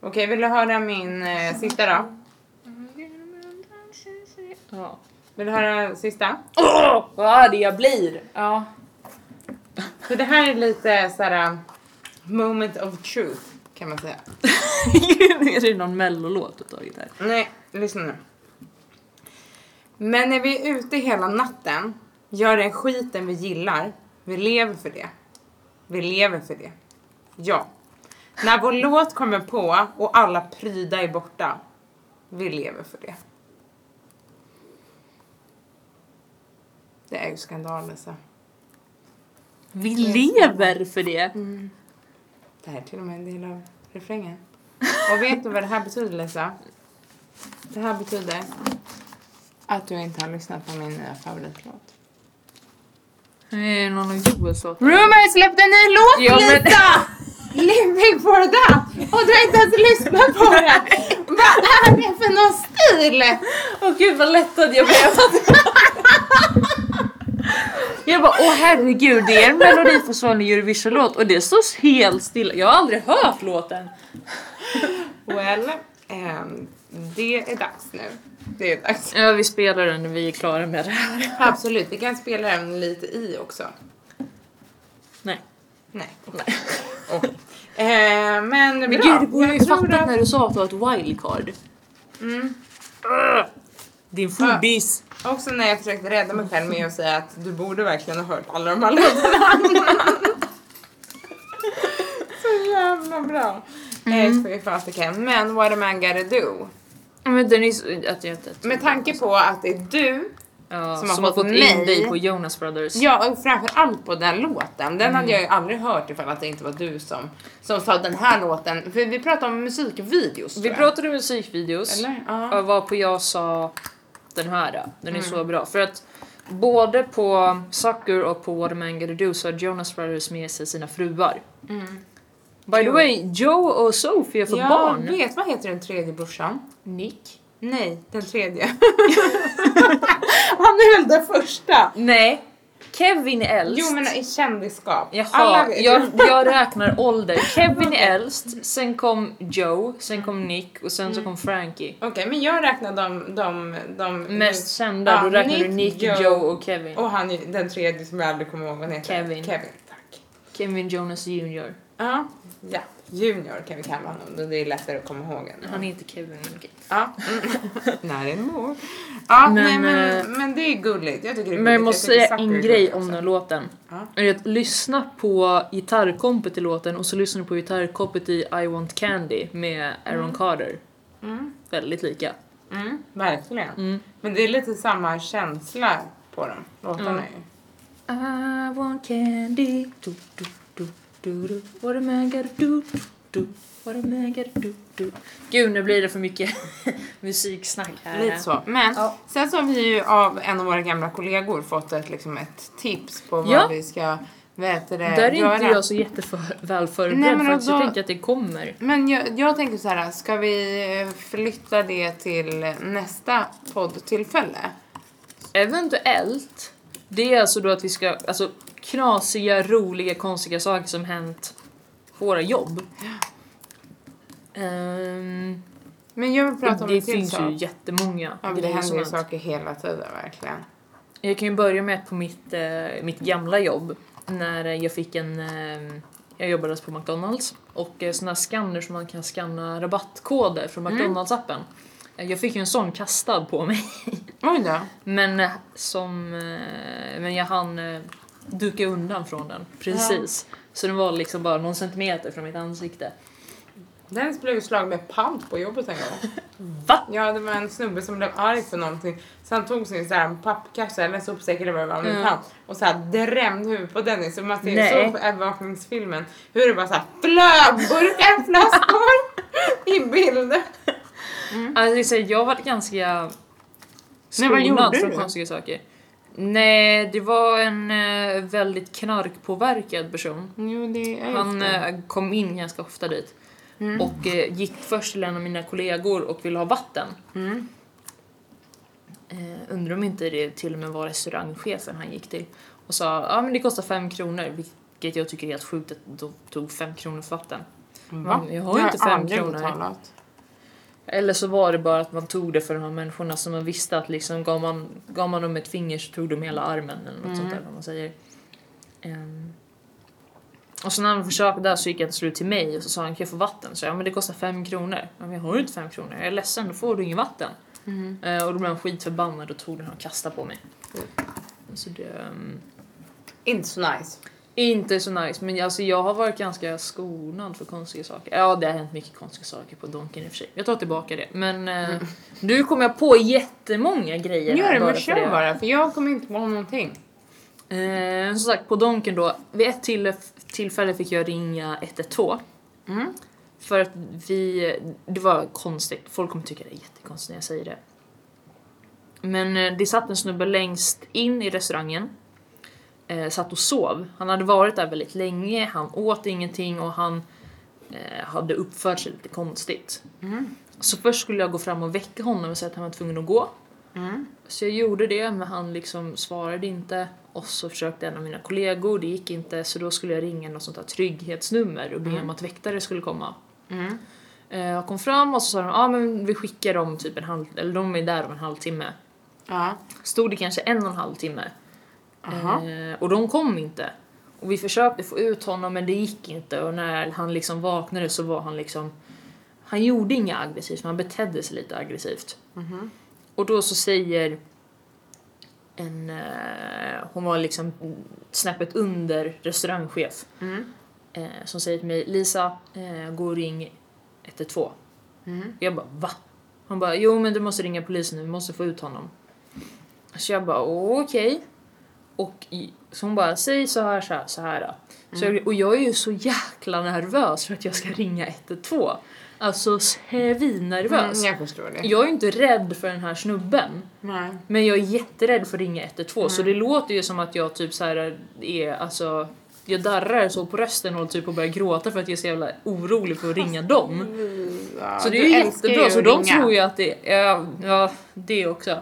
Okej, vill du höra min eh, sista då? Ja. Vill du höra sista? Åh, vad arg jag blir! Ja. För det här är lite såhär moment of truth kan man säga. är det någon mellolåt du tagit här? Nej, lyssna nu. Men när vi är ute hela natten, gör den skiten vi gillar. Vi lever för det. Vi lever för det. Ja. När vår låt kommer på och alla pryda är borta. Vi lever för det. Det är ju skandal alltså. Lisa. Vi lever för det! Det här är till och med en del av refrängen. Och vet du vad det här betyder Lisa? Det här betyder att du inte har lyssnat på min nya favoritlåt. Det är någon av Joels låtar. Rumor släppte en ny låt Ja, men- Lisa! Living for that! Och du har inte ens lyssnat på den! Vad är det för någon stil? Åh gud vad lättad jag blev! jag bara åh herregud det är en melodiförsvanlig Eurovision-låt och det står helt stilla. Jag har aldrig hört låten. Well, ehm, det är dags nu. Det är dags. Ja vi spelar den när vi är klara med det här. Absolut, vi kan spela den lite i också. Nej. Nej. Nej. Och, eh, men bra. Men gud du borde ju Jag tror fattat att- när du sa att du har ett wildcard. Mm. Din fobis. Också när jag försökte rädda mig själv med att säga att du borde verkligen ha hört alla de här låtarna. Så jävla bra. Mm. Eh, fasiken. Men what am I gonna do? Men den är så... Att jag inte... Med tanke på att det är du, Ja, Som som, har har fått fått nej. in dig på Jonas Brothers. ja och framförallt på den låten. Den Mm. hade jag ju aldrig hört ifall att det inte var du som, som sa den här låten. För vi pratade om musikvideos tror Vi jag. pratade om musikvideos. Eller? Ja. Ja, varpå jag sa den här, då. den är Mm. så bra. För att både på Sucker och på What a Man Gotta Do så har Jonas Brothers med sig sina fruar. Mm. By the Kul. way, Joe och Sophie får Jag barn. vet, vad heter den tredje brorsan? Nick? Nej, den tredje. Han är väl den första? Nej, Kevin är äldst. Jo men i kändisskap. Jaha, Alla vet. jag, jag räknar ålder. Kevin är äldst, sen kom Joe, sen kom Nick och sen så Mm. kom Frankie. Okej men jag räknar de, de, de Mest kända, Ja, då räknar du Mm. Ah, Nick, Nick, Joe- Joe och Kevin. Och han är den tredje som jag aldrig kommer ihåg vad han heter. Kevin. Kevin, tack. Kevin Jonas Jr. Ja, ja. Junior kan vi kalla honom, då det är lättare att komma ihåg än. Han heter Kevin. men okej. Ja. Mm. När en mor. Ja, Men, nej, men, eh, men det är gulligt. Jag tycker det är Men jag gulligt. måste tycker säga Zucker en är grej gulligt om också. den låten. Ja. Är att lyssna på gitarrkompet i låten och så lyssnar du på gitarrkompet i I want candy med Aaron Carter. Mm. Väldigt lika. Mm, verkligen. Mm. Men det är lite samma känsla på dem, låtarna Mm. ju. I want candy do, do, do, do, do. What a man gotta do, do, do. What a man gotta do, do. Gud, nu blir det för mycket musiksnack här. Lite så. Eh, Men Ja. sen så har vi ju av en av våra gamla kollegor fått ett, liksom ett tips på vad Ja. vi ska vet det, Där är göra. inte jag så jätteför- Nej, förberedd men för att jag då- tänker att det kommer. Men jag, jag tänker så här, ska vi eh, flytta det till nästa poddtillfälle? Eventuellt. Det är alltså då att vi ska, alltså knasiga, roliga, konstiga saker som hänt på våra jobb. Ehm, Men jag vill prata om det en till finns sak. ju jättemånga Ja, men det grejer som händer ju hänt. saker hela tiden verkligen. Jag kan ju börja med att på mitt, eh, mitt gamla jobb, när jag fick en... Eh, jag jobbade på McDonalds och eh, såna här scanner som man kan scanna rabattkoder från Mm. McDonalds-appen. Eh, Jag fick ju en sån kastad på mig. Oj då. Men eh, som... eh, Men jag hann eh, duka undan från den, precis. Så den var liksom bara någon centimeter från mitt ansikte. Den blev ju slagen med pant på jobbet en gång. Va? Ja, det var en snubbe som blev arg för någonting. Så han tog sin så här, pappkasse eller sopsäck eller vad det var med Mm. pant och så här drämde huvudet på Dennis. Så man ser Nej. så på övervakningsfilmen hur det bara så här flög burkar, flaskor i bilden. Alltså, jag säger, jag har varit ganska Men vad gjorde skonad från du? konstiga saker. Nej, det var en eh, väldigt knarkpåverkad person. Jo, det är Han just det. eh, kom in ganska ofta dit Mm. och eh, gick först till en av mina kollegor och ville ha vatten. Mm. Eh, undrar om inte det till och med var restaurangchefen han gick till och sa ja men det kostar fem kronor vilket jag tycker är helt sjukt att de tog fem kronor för vatten. Va? Mm. Jag har ju inte fem kronor. betalat. Eller så var det bara att man tog det för de här människorna som man visste att liksom gav man, gav man dem ett finger så tog de hela armen eller något Mm. sånt där vad man säger. Ehm. och så när han försökte där så gick han till slut till mig och så sa han kan jag få vatten? Så jag, ja men det kostar fem kronor. Ja, men jag har ju inte fem kronor, jag är ledsen då får du inget vatten. Mm. Eh, och då blev han skitförbannad och tog den och kastade på mig. Så det, ehm, Inte så nice. inte så nice men alltså jag har varit ganska skonad för konstiga saker. Ja det har hänt mycket konstiga saker på Donken i och för sig. Jag tar tillbaka det. Men eh, nu kom jag på jättemånga grejer. här Mm. Gör det, bara men för kör bara. För jag kommer inte på någonting. Eh, som sagt på Donken då, vid ett till, tillfälle fick jag ringa 112. Mm. För att vi, det var konstigt, folk kommer tycka det är jättekonstigt när jag säger det. Men eh, det satt en snubbe längst in i restaurangen. Eh, satt och sov. Han hade varit där väldigt länge, han åt ingenting och han eh, hade uppfört sig lite konstigt. Mm. Så först skulle jag gå fram och väcka honom och säga att han var tvungen att gå. Mm. Så jag gjorde det men han liksom svarade inte och så försökte en av mina kollegor, det gick inte så då skulle jag ringa något sånt här trygghetsnummer och be om att väktare skulle komma. Mm. Eh, Jag kom fram och så sa de ah, men vi skickar dem typ en halv, eller de är där om en halvtimme. Ja. Stod det kanske en och en halv timme Aha. eh, och de kom inte. Och vi försökte få ut honom men det gick inte och när han liksom vaknade så var han liksom han gjorde inget aggressivt men han betedde sig lite aggressivt. Mhm. Och då så säger en, eh, hon var liksom snäppet under restaurangchef Mm. eh, som säger till mig Lisa, eh, gå och ring 112. Mm. Jag bara va? Hon bara jo men du måste ringa polisen nu, vi måste få ut honom. Så jag bara okej. Och i, så hon bara säg så här så här så här. Då. Så jag, och jag är ju så jäkla nervös för att jag ska ringa 112. Alltså svinnervös. Mm, jag förstår det. Jag är ju inte rädd för den här snubben. Nej. Men jag är jätterädd för att ringa 112 så Mm. det låter ju som att jag typ så här är alltså jag darrar så på rösten och typ och börjar gråta för att jag är så jävla orolig för att ringa Mm. dem. Ja, Så det är du ju älskar jättebra, att så de ringa. tror ju att det är, ja det också.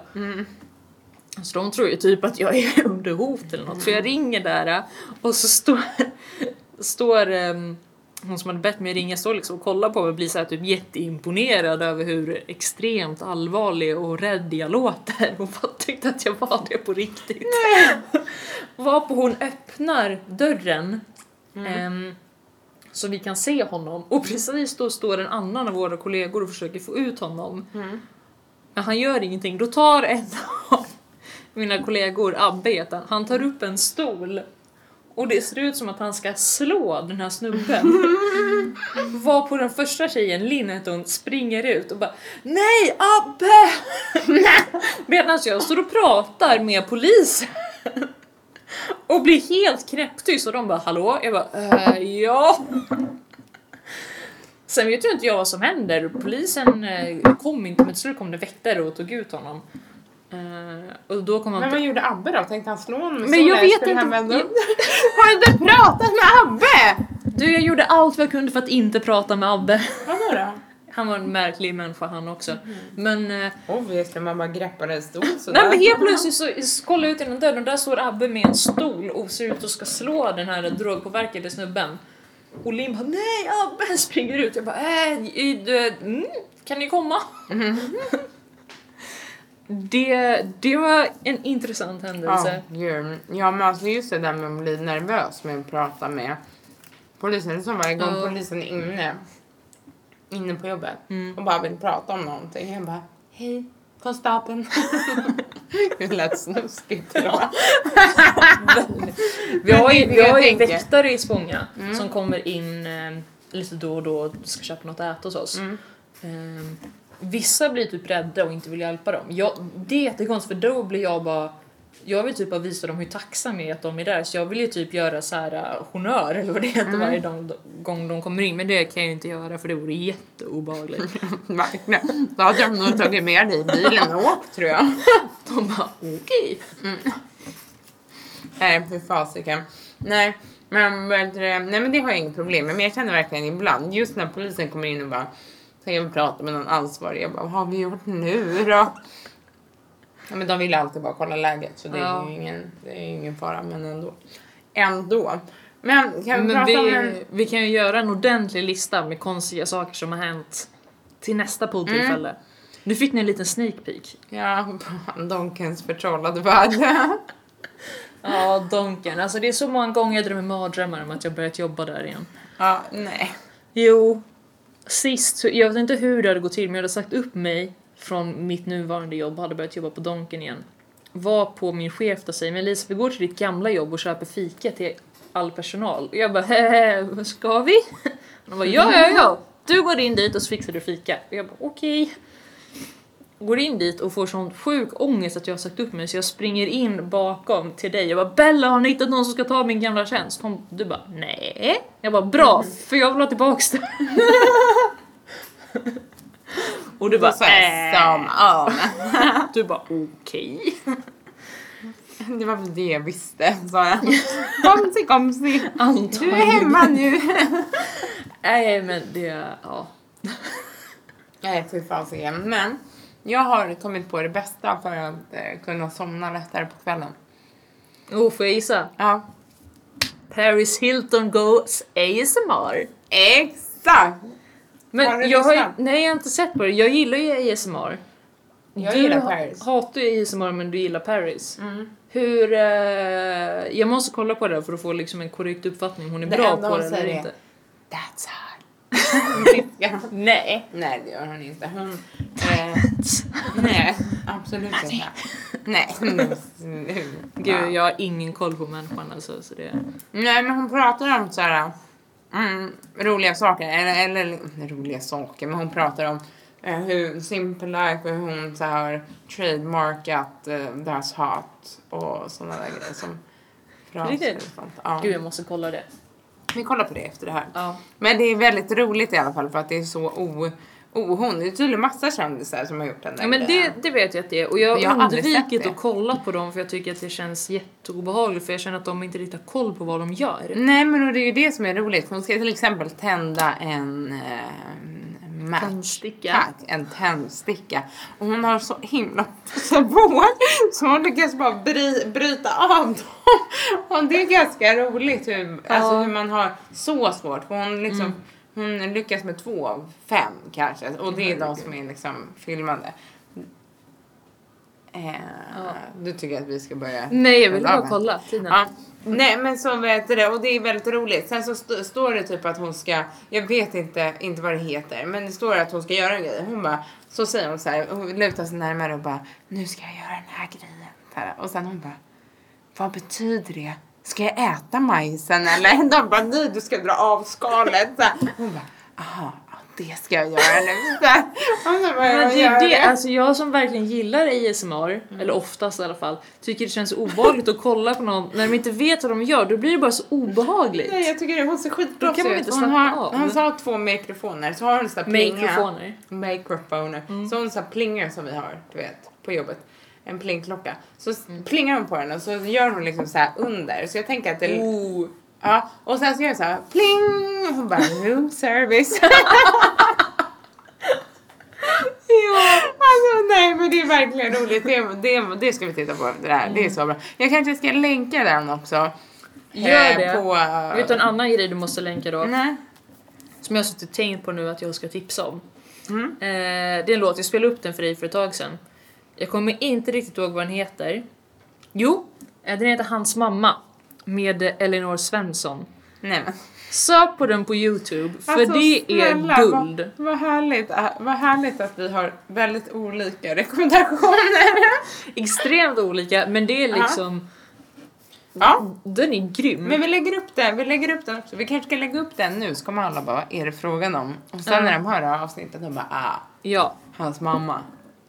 Så de tror ju typ att jag är under hot eller något. Så jag ringer där äh, och så står, står ehm, hon som hade bett mig ringa står liksom och kollar på mig och blir så här typ jätteimponerad över hur extremt allvarlig och rädd jag låter. Hon bara tyckte att jag var det på riktigt. Varpå hon öppnar dörren ehm, så vi kan se honom och precis då står en annan av våra kollegor och försöker få ut honom. Mm. Men han gör ingenting. Då tar en av mina kollegor, Abbe heter han, han tar upp en stol och det ser ut som att han ska slå den här snubben. Var på den första tjejen, Linn hette hon, springer ut och bara Nej Abbe! Medan jag står och pratar med polisen och blir helt knäpptyst och de bara hallå? Jag bara äh, ja. Sen vet ju inte jag vad som händer. Polisen eh, kom inte men till slut kom det väktare och tog ut honom. Eh, och då kom han Men vad gjorde Abbe då? Tänkte han slå honom? i Men jag solen? vet Skulle han inte- vända upp? Har du inte pratat med Abbe? Du, jag gjorde allt vad jag kunde för att inte prata med Abbe. Vadå då? Han var en märklig människa han också. Men, eh, Obviously, man bara greppade en stol nej, sådär. men helt plötsligt så så kollar jag ut genom dörren och där står Abbe med en stol och ser ut och ska slå den här drogpåverkade snubben. Och Linn bara nej Abbe springer ut. Jag bara äh, i- du, mm, kan ni komma? Mhm. det, det var en intressant händelse. Ja, gud. ja, men alltså just det där med att bli nervös med att prata med polisen. Som varje gång Ja. polisen är inne, inne på jobbet Mm. och bara vill prata om någonting. Jag bara, hej, konstapeln. det lät snuskigt. Ja. Vi har ju, Men vi har jag ju tänker- väktare i Spånga Mm. som kommer in eh, lite då och då och ska köpa något att äta hos oss. Mm. Ehm, vissa blir typ rädda och inte vill hjälpa dem. Jag, det är jättekonstigt för då blir jag bara jag vill typ bara visa dem hur tacksam jag är att de är där så jag vill ju typ göra så här äh, honnör eller vad det heter Mm. varje dag, gång de kommer in men det kan jag ju inte göra för det vore jätteobehagligt. Verkligen. Då hade jag nog tagit med dig i bilen och åkt tror jag. de bara okej. Nej, för fasiken. Nej, men, vad heter det? nej, men det har jag inget problem med. Men jag känner verkligen ibland, just när polisen kommer in och bara så jag vill prata med någon ansvarig. Jag bara, vad har vi gjort nu då? Ja, men de vill alltid bara kolla läget så det är Ja. ju ingen, det är ju ingen fara. Men ändå. Ändå. Men kan vi Men prata om vi, en... vi kan ju göra en ordentlig lista med konstiga saker som har hänt till nästa poddtillfälle. Nu fick ni en liten sneak peek. Ja, Donkens förtrollade värld. Ja, Donken. Alltså det är så många gånger jag drömmer mardrömmar om att jag börjat jobba där igen. ja, nej. Jo, sist, så jag vet inte hur det hade gått till men jag hade sagt upp mig från mitt nuvarande jobb hade börjat jobba på Donken igen. Var på min chef då säger men Lisa vi går till ditt gamla jobb och köper fika till all personal. Och jag bara hehe, ska vi? Han bara ja ja ja, du går in dit och så fixar du fika. Och jag bara okej. Går in dit och får sån sjuk ångest att jag har sagt upp mig så jag springer in bakom till dig och bara Bella har ni hittat någon som ska ta min gamla tjänst? Hon, du bara nej. Jag bara bra för jag vill ha tillbaks det. och du bara "Äh." Så här, som, ja. Du bara okej. Det var väl det jag visste, sa jag. Komsi, komsi. Du Antagligen. är hemma nu. Nej men det, ja. Nej, fy fasiken. Men jag har kommit på det bästa för att eh, kunna somna lättare på kvällen. Oh, får jag gissa? Ja, Paris Hilton goes ASMR. exakt! Har du Men jag har, ju- lyssnat? nej, jag har inte sett på det. Jag gillar ju ASMR. Jag du gillar ha- Paris. hatar ju ASMR men du gillar Paris. Mm. Hur... eh, jag måste kolla på det för att få liksom en korrekt uppfattning. Hon är Det bra enda på hon det eller säger är- inte. That's hot. Nej. Nej, det gör hon inte. Hon... Eh, nej, absolut inte. Nej. Gud, jag har ingen koll på människan alltså. Så det... Nej, men hon pratar om så här, mm, roliga saker. Eller, eller roliga saker, men hon pratar om eh, hur Simple Life och hur hon så här, har trademarkat eh, deras hat och sådana där grejer som fraser Riktigt? och sånt. Ja. Gud, jag måste kolla det. Vi kollar på det efter det här. Ja. Men det är väldigt roligt i alla fall för att det är så o, ohon. Det är tydligen massa kändisar som har gjort den där Ja, men det, grejen. det vet jag att det är. Och jag Jag har har aldrig sett undvikit det. att kolla på dem för jag tycker att det känns jätteobehagligt för jag känner att de inte riktigt har koll på vad de gör. Nej men och det är ju det som är roligt. Hon ska till exempel tända en eh, match. Tändsticka. Tack, en tändsticka. Och hon har så himla svår så hon lyckas bara bry, bryta av dem. Och det är ganska roligt hur, alltså Ja. Mm. hur man har så svårt. För hon, liksom, hon lyckas med två av fem kanske. Och det är de som är liksom filmande. Eh, Du tycker att vi ska börja? Nej, jag vill bara Laven. kolla tiden. Ja. Mm. Nej men så vet du det och det är väldigt roligt. Sen så st- står det typ att hon ska, jag vet inte, inte vad det heter, men det står att hon ska göra en grej. Hon bara, så säger hon så här, hon lutar sig närmare och bara, nu ska jag göra den här grejen. Så här, Och sen hon bara, vad betyder det? Ska jag äta majsen eller? De bara, nej du ska dra av skalet. Så här. Hon bara, aha, ja, det ska jag göra nu. Så här. Och så börjar Men hon det göra är ju det, alltså jag som verkligen gillar ASMR, Mm. eller oftast i alla fall, tycker det känns obehagligt att kolla på någon när de inte vet vad de gör, då blir det bara så Nej, obehagligt. jag tycker det. Hon ser Då kan skitproffsig man ut. inte Hon slappna har, av. hon har två mikrofoner. Så har hon en sån där plinga. Mikrofoner. Mikrofoner. Mm. Så har hon sån här plinga som vi har, du vet, på jobbet. En plingklocka. Så s- Mm. plingar hon på den och så gör hon liksom så här under. Så jag tänker att det... Oh. Ja, och sen så gör jag så här pling! Och hon bara room service. Ja. Alltså nej men det är verkligen roligt. Det, det, det ska vi titta på efter det här. Mm. Det är så bra. Jag kanske ska länka den också. Gör eh, det. På, Vet du en annan grej du måste länka då? Nej. Som jag har suttit och tänkt på nu att jag ska tipsa om. Eh, det är en låt, jag spelade upp den för dig för ett tag sedan. Jag kommer inte riktigt ihåg vad den heter. Jo, eh, den heter Hans mamma med eh, Elinor Svensson. Nej men. Sök på den på youtube för Alltså, det är snälla, guld. Vad, vad, härligt, äh, vad härligt att vi har väldigt olika rekommendationer. extremt olika men det är liksom, ja, den är grym. men vi lägger upp den. Vi lägger upp den också. Vi kanske ska lägga upp den nu så kommer alla bara, vad är det frågan om? Och sen Ja. när de hör det här avsnittet, de bara, ah, Ja, hans mamma.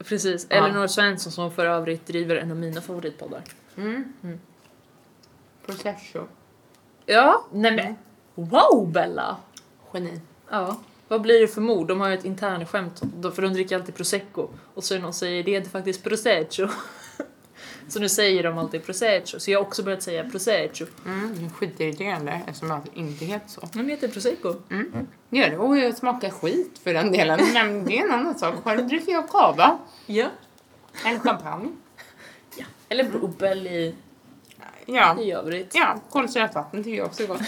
precis. Ja. Elinor Svensson som för övrigt driver en av mina favoritpoddar. Mm. Mm. Prosecco. Ja, nej men wow Bella! Geni. Ja. Vad blir det för mord? De har ju ett internskämt, då- för de dricker alltid prosecco. Och så är det någon som säger det är inte faktiskt prosecco. så nu säger de alltid prosecco, så jag har också börjat säga prosecco. Mm, skitirriterande eftersom jag inte heter så. Men det heter prosecco. Gör det. Och jag smakar skit för den delen. Nej, men det är en annan sak. Själv dricker jag kava. Ja. Eller champagne. Eller bubbel i, Ja, i övrigt. ja kolsyrat vatten tycker jag också är gott.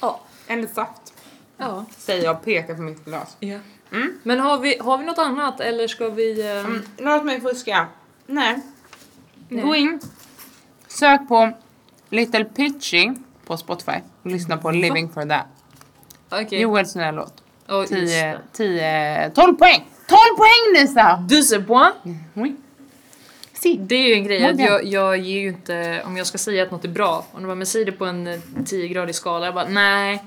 Ja. Eller saft. ja. Säger jag och pekar på mitt glas. ja. Mm. Men har vi, har vi något annat eller ska vi... ehm, Mm, låt mig fuska. Nej. Nej. Gå in. Sök på Little Pitchy på Spotify. Och lyssna på Living for that. Okej. Joels nya låt. Ja, just 10, det. 10, 12 poäng! 12 poäng Lisa! Du ser på. Oui. Si. Det är ju en grej att Morgan. jag, jag ger ju inte, om jag ska säga att något är bra, om du bara men säg det på en eh, 10-gradig skala, jag bara nej.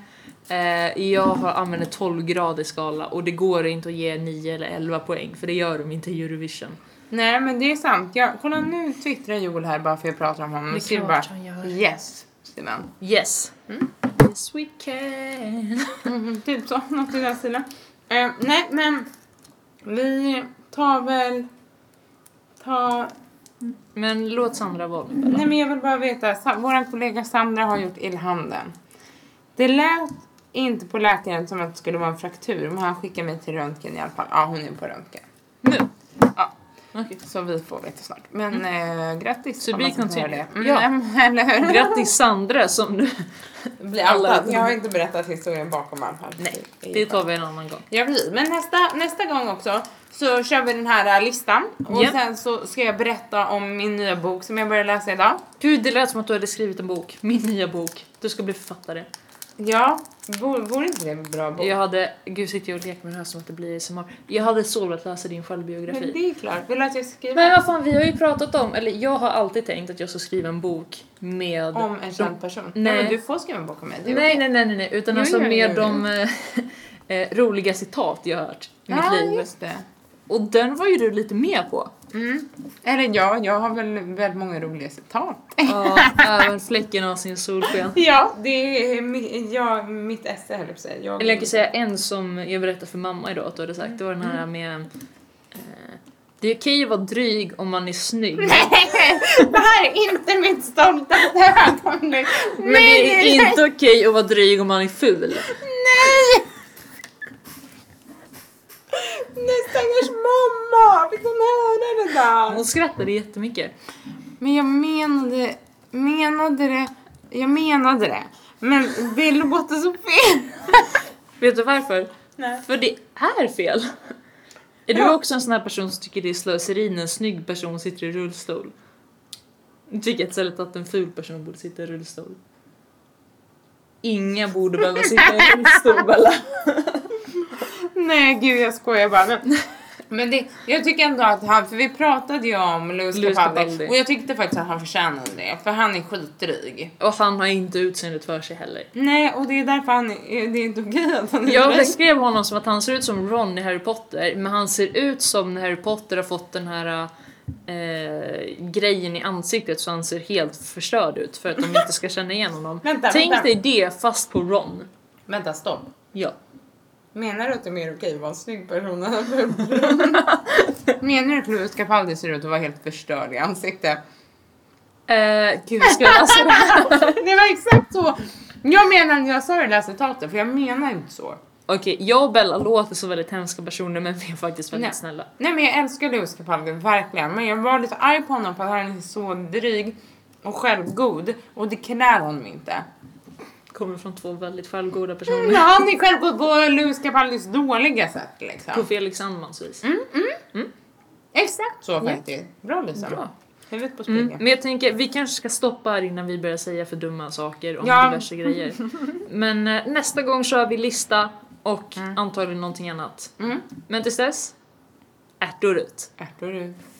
Eh, jag har använder 12-gradig skala och det går inte att ge 9 eller 11 poäng för det gör de inte i Eurovision. Nej men det är sant. Jag, kolla nu twittrar Joel här bara för jag pratar om honom. Det är Och skriver bara klart han gör. yes. skriver han. Yes. Mm. Yes we can. Mhm, typ så, något i den stilen. Eh, nej men vi tar väl... Ta Men låt Sandra vara nu bara. Nej men jag vill bara veta, Sa- vår kollega Sandra har gjort illhanden. Det lät inte på läkaren som att det skulle vara en fraktur men han skickade mig till röntgen i alla fall. Ja hon är på röntgen. Nu. Ja. Okej. Mm. Så vi får veta snart. Men eh, grattis. Så om vi man ska kan säga tydligen- det. Mm, Ja. ja. Eller hur? Grattis Sandra som nu blir alla Jag har inte berättat historien bakom allt här. Nej, det tar vi en annan gång. Ja precis, men nästa, nästa gång också så kör vi den här eh, listan och Ja. sen så ska jag berätta om min nya bok som jag började läsa idag. Gud, det lät som att du hade skrivit en bok. Min nya bok. Du ska bli författare. Ja, vore vore inte det en bra bok? Jag hade, gud sitter jag och leker med det här som att det blir ASMR. Jag hade så velat läsa din Men självbiografi. det är klart. Vill du att jag skriver Men vad fan, vi har ju pratat om, eller jag har alltid tänkt att jag ska skriva en bok med... om en känd person? Nej. Nej. men du får skriva en bok om mig. Det är Nej, okej. nej, nej, nej, nej. utan Jo, alltså jo, jo, med jo. de eh, eh, roliga citat jag har hört i mitt Ja, liv. Ah, just det. Och den var ju du lite med på. Mm. Eller ja, jag har väl väldigt många roliga citat. Ja, även fläcken av sin solsken. Ja, det är mi- ja, mitt esse höll jag på att säga. Jag- Eller jag kan säga en som jag berättade för mamma idag att du hade sagt, det var den Mm. här med... Eh, det är okej att vara dryg om man är snygg. Nej, det här är inte mitt stoltaste ögonblick. Men det är inte okej att vara dryg om man är ful. Nej! Nej, stackars mamma! Fick hon höra det där? Hon skrattade jättemycket. Men jag menade, menade det, jag menade det. Men det låter så fel. Vet du varför? Nej. För det är fel. Är du Ja. också en sån här person som tycker det är slöseri när en snygg person sitter i rullstol? Du tycker istället att en ful person borde sitta i rullstol? Inga borde behöva sitta i rullstol Bella. Nej gud jag skojar bara. Men, men det, jag tycker ändå att han, för vi pratade ju om Louis Louis Capaldi Capaldi. och jag tyckte faktiskt att han förtjänade det för han är skitdryg. Och han har inte utseendet för sig heller. Nej och det är därför han, är- det är inte okej att han är Jag dryg. beskrev honom som att han ser ut som Ron i Harry Potter, men han ser ut som när Harry Potter har fått den här eh, grejen i ansiktet så han ser helt förstörd ut för att de inte ska känna igen honom. Vänta, Tänk vänta. dig det fast på Ron. Vänta stopp. Ja. Menar du att det är mer okej att vara en snygg person än en ful person? Menar du att Louis Capaldi ser ut att vara helt förstörd i ansiktet? Eh, gud, ska jag, alltså, Det var exakt så. Jag menar när jag sa det där citatet för jag menar inte så. Okej, jag och Bella låter som väldigt hemska personer men vi är faktiskt väldigt Nej. snälla. Nej men jag älskar Lewis Capaldi, verkligen. Men jag var lite arg på honom för att han är så dryg och självgod. Och det klär honom inte. Kommer från två väldigt självgoda personer. Men han är självgod på Lewis Capaldis dåliga sätt På liksom. Felix Sandmans vis. Exakt så faktiskt. Bra Lisa. Bra. Huvudet på spiken. Mm, men jag tänker, vi kanske ska stoppa här innan vi börjar säga för dumma saker om Ja. diverse grejer. Men eh, nästa gång kör vi lista och antagligen någonting annat. Mm. Men tills dess, ärtor ut. Ärtor ut.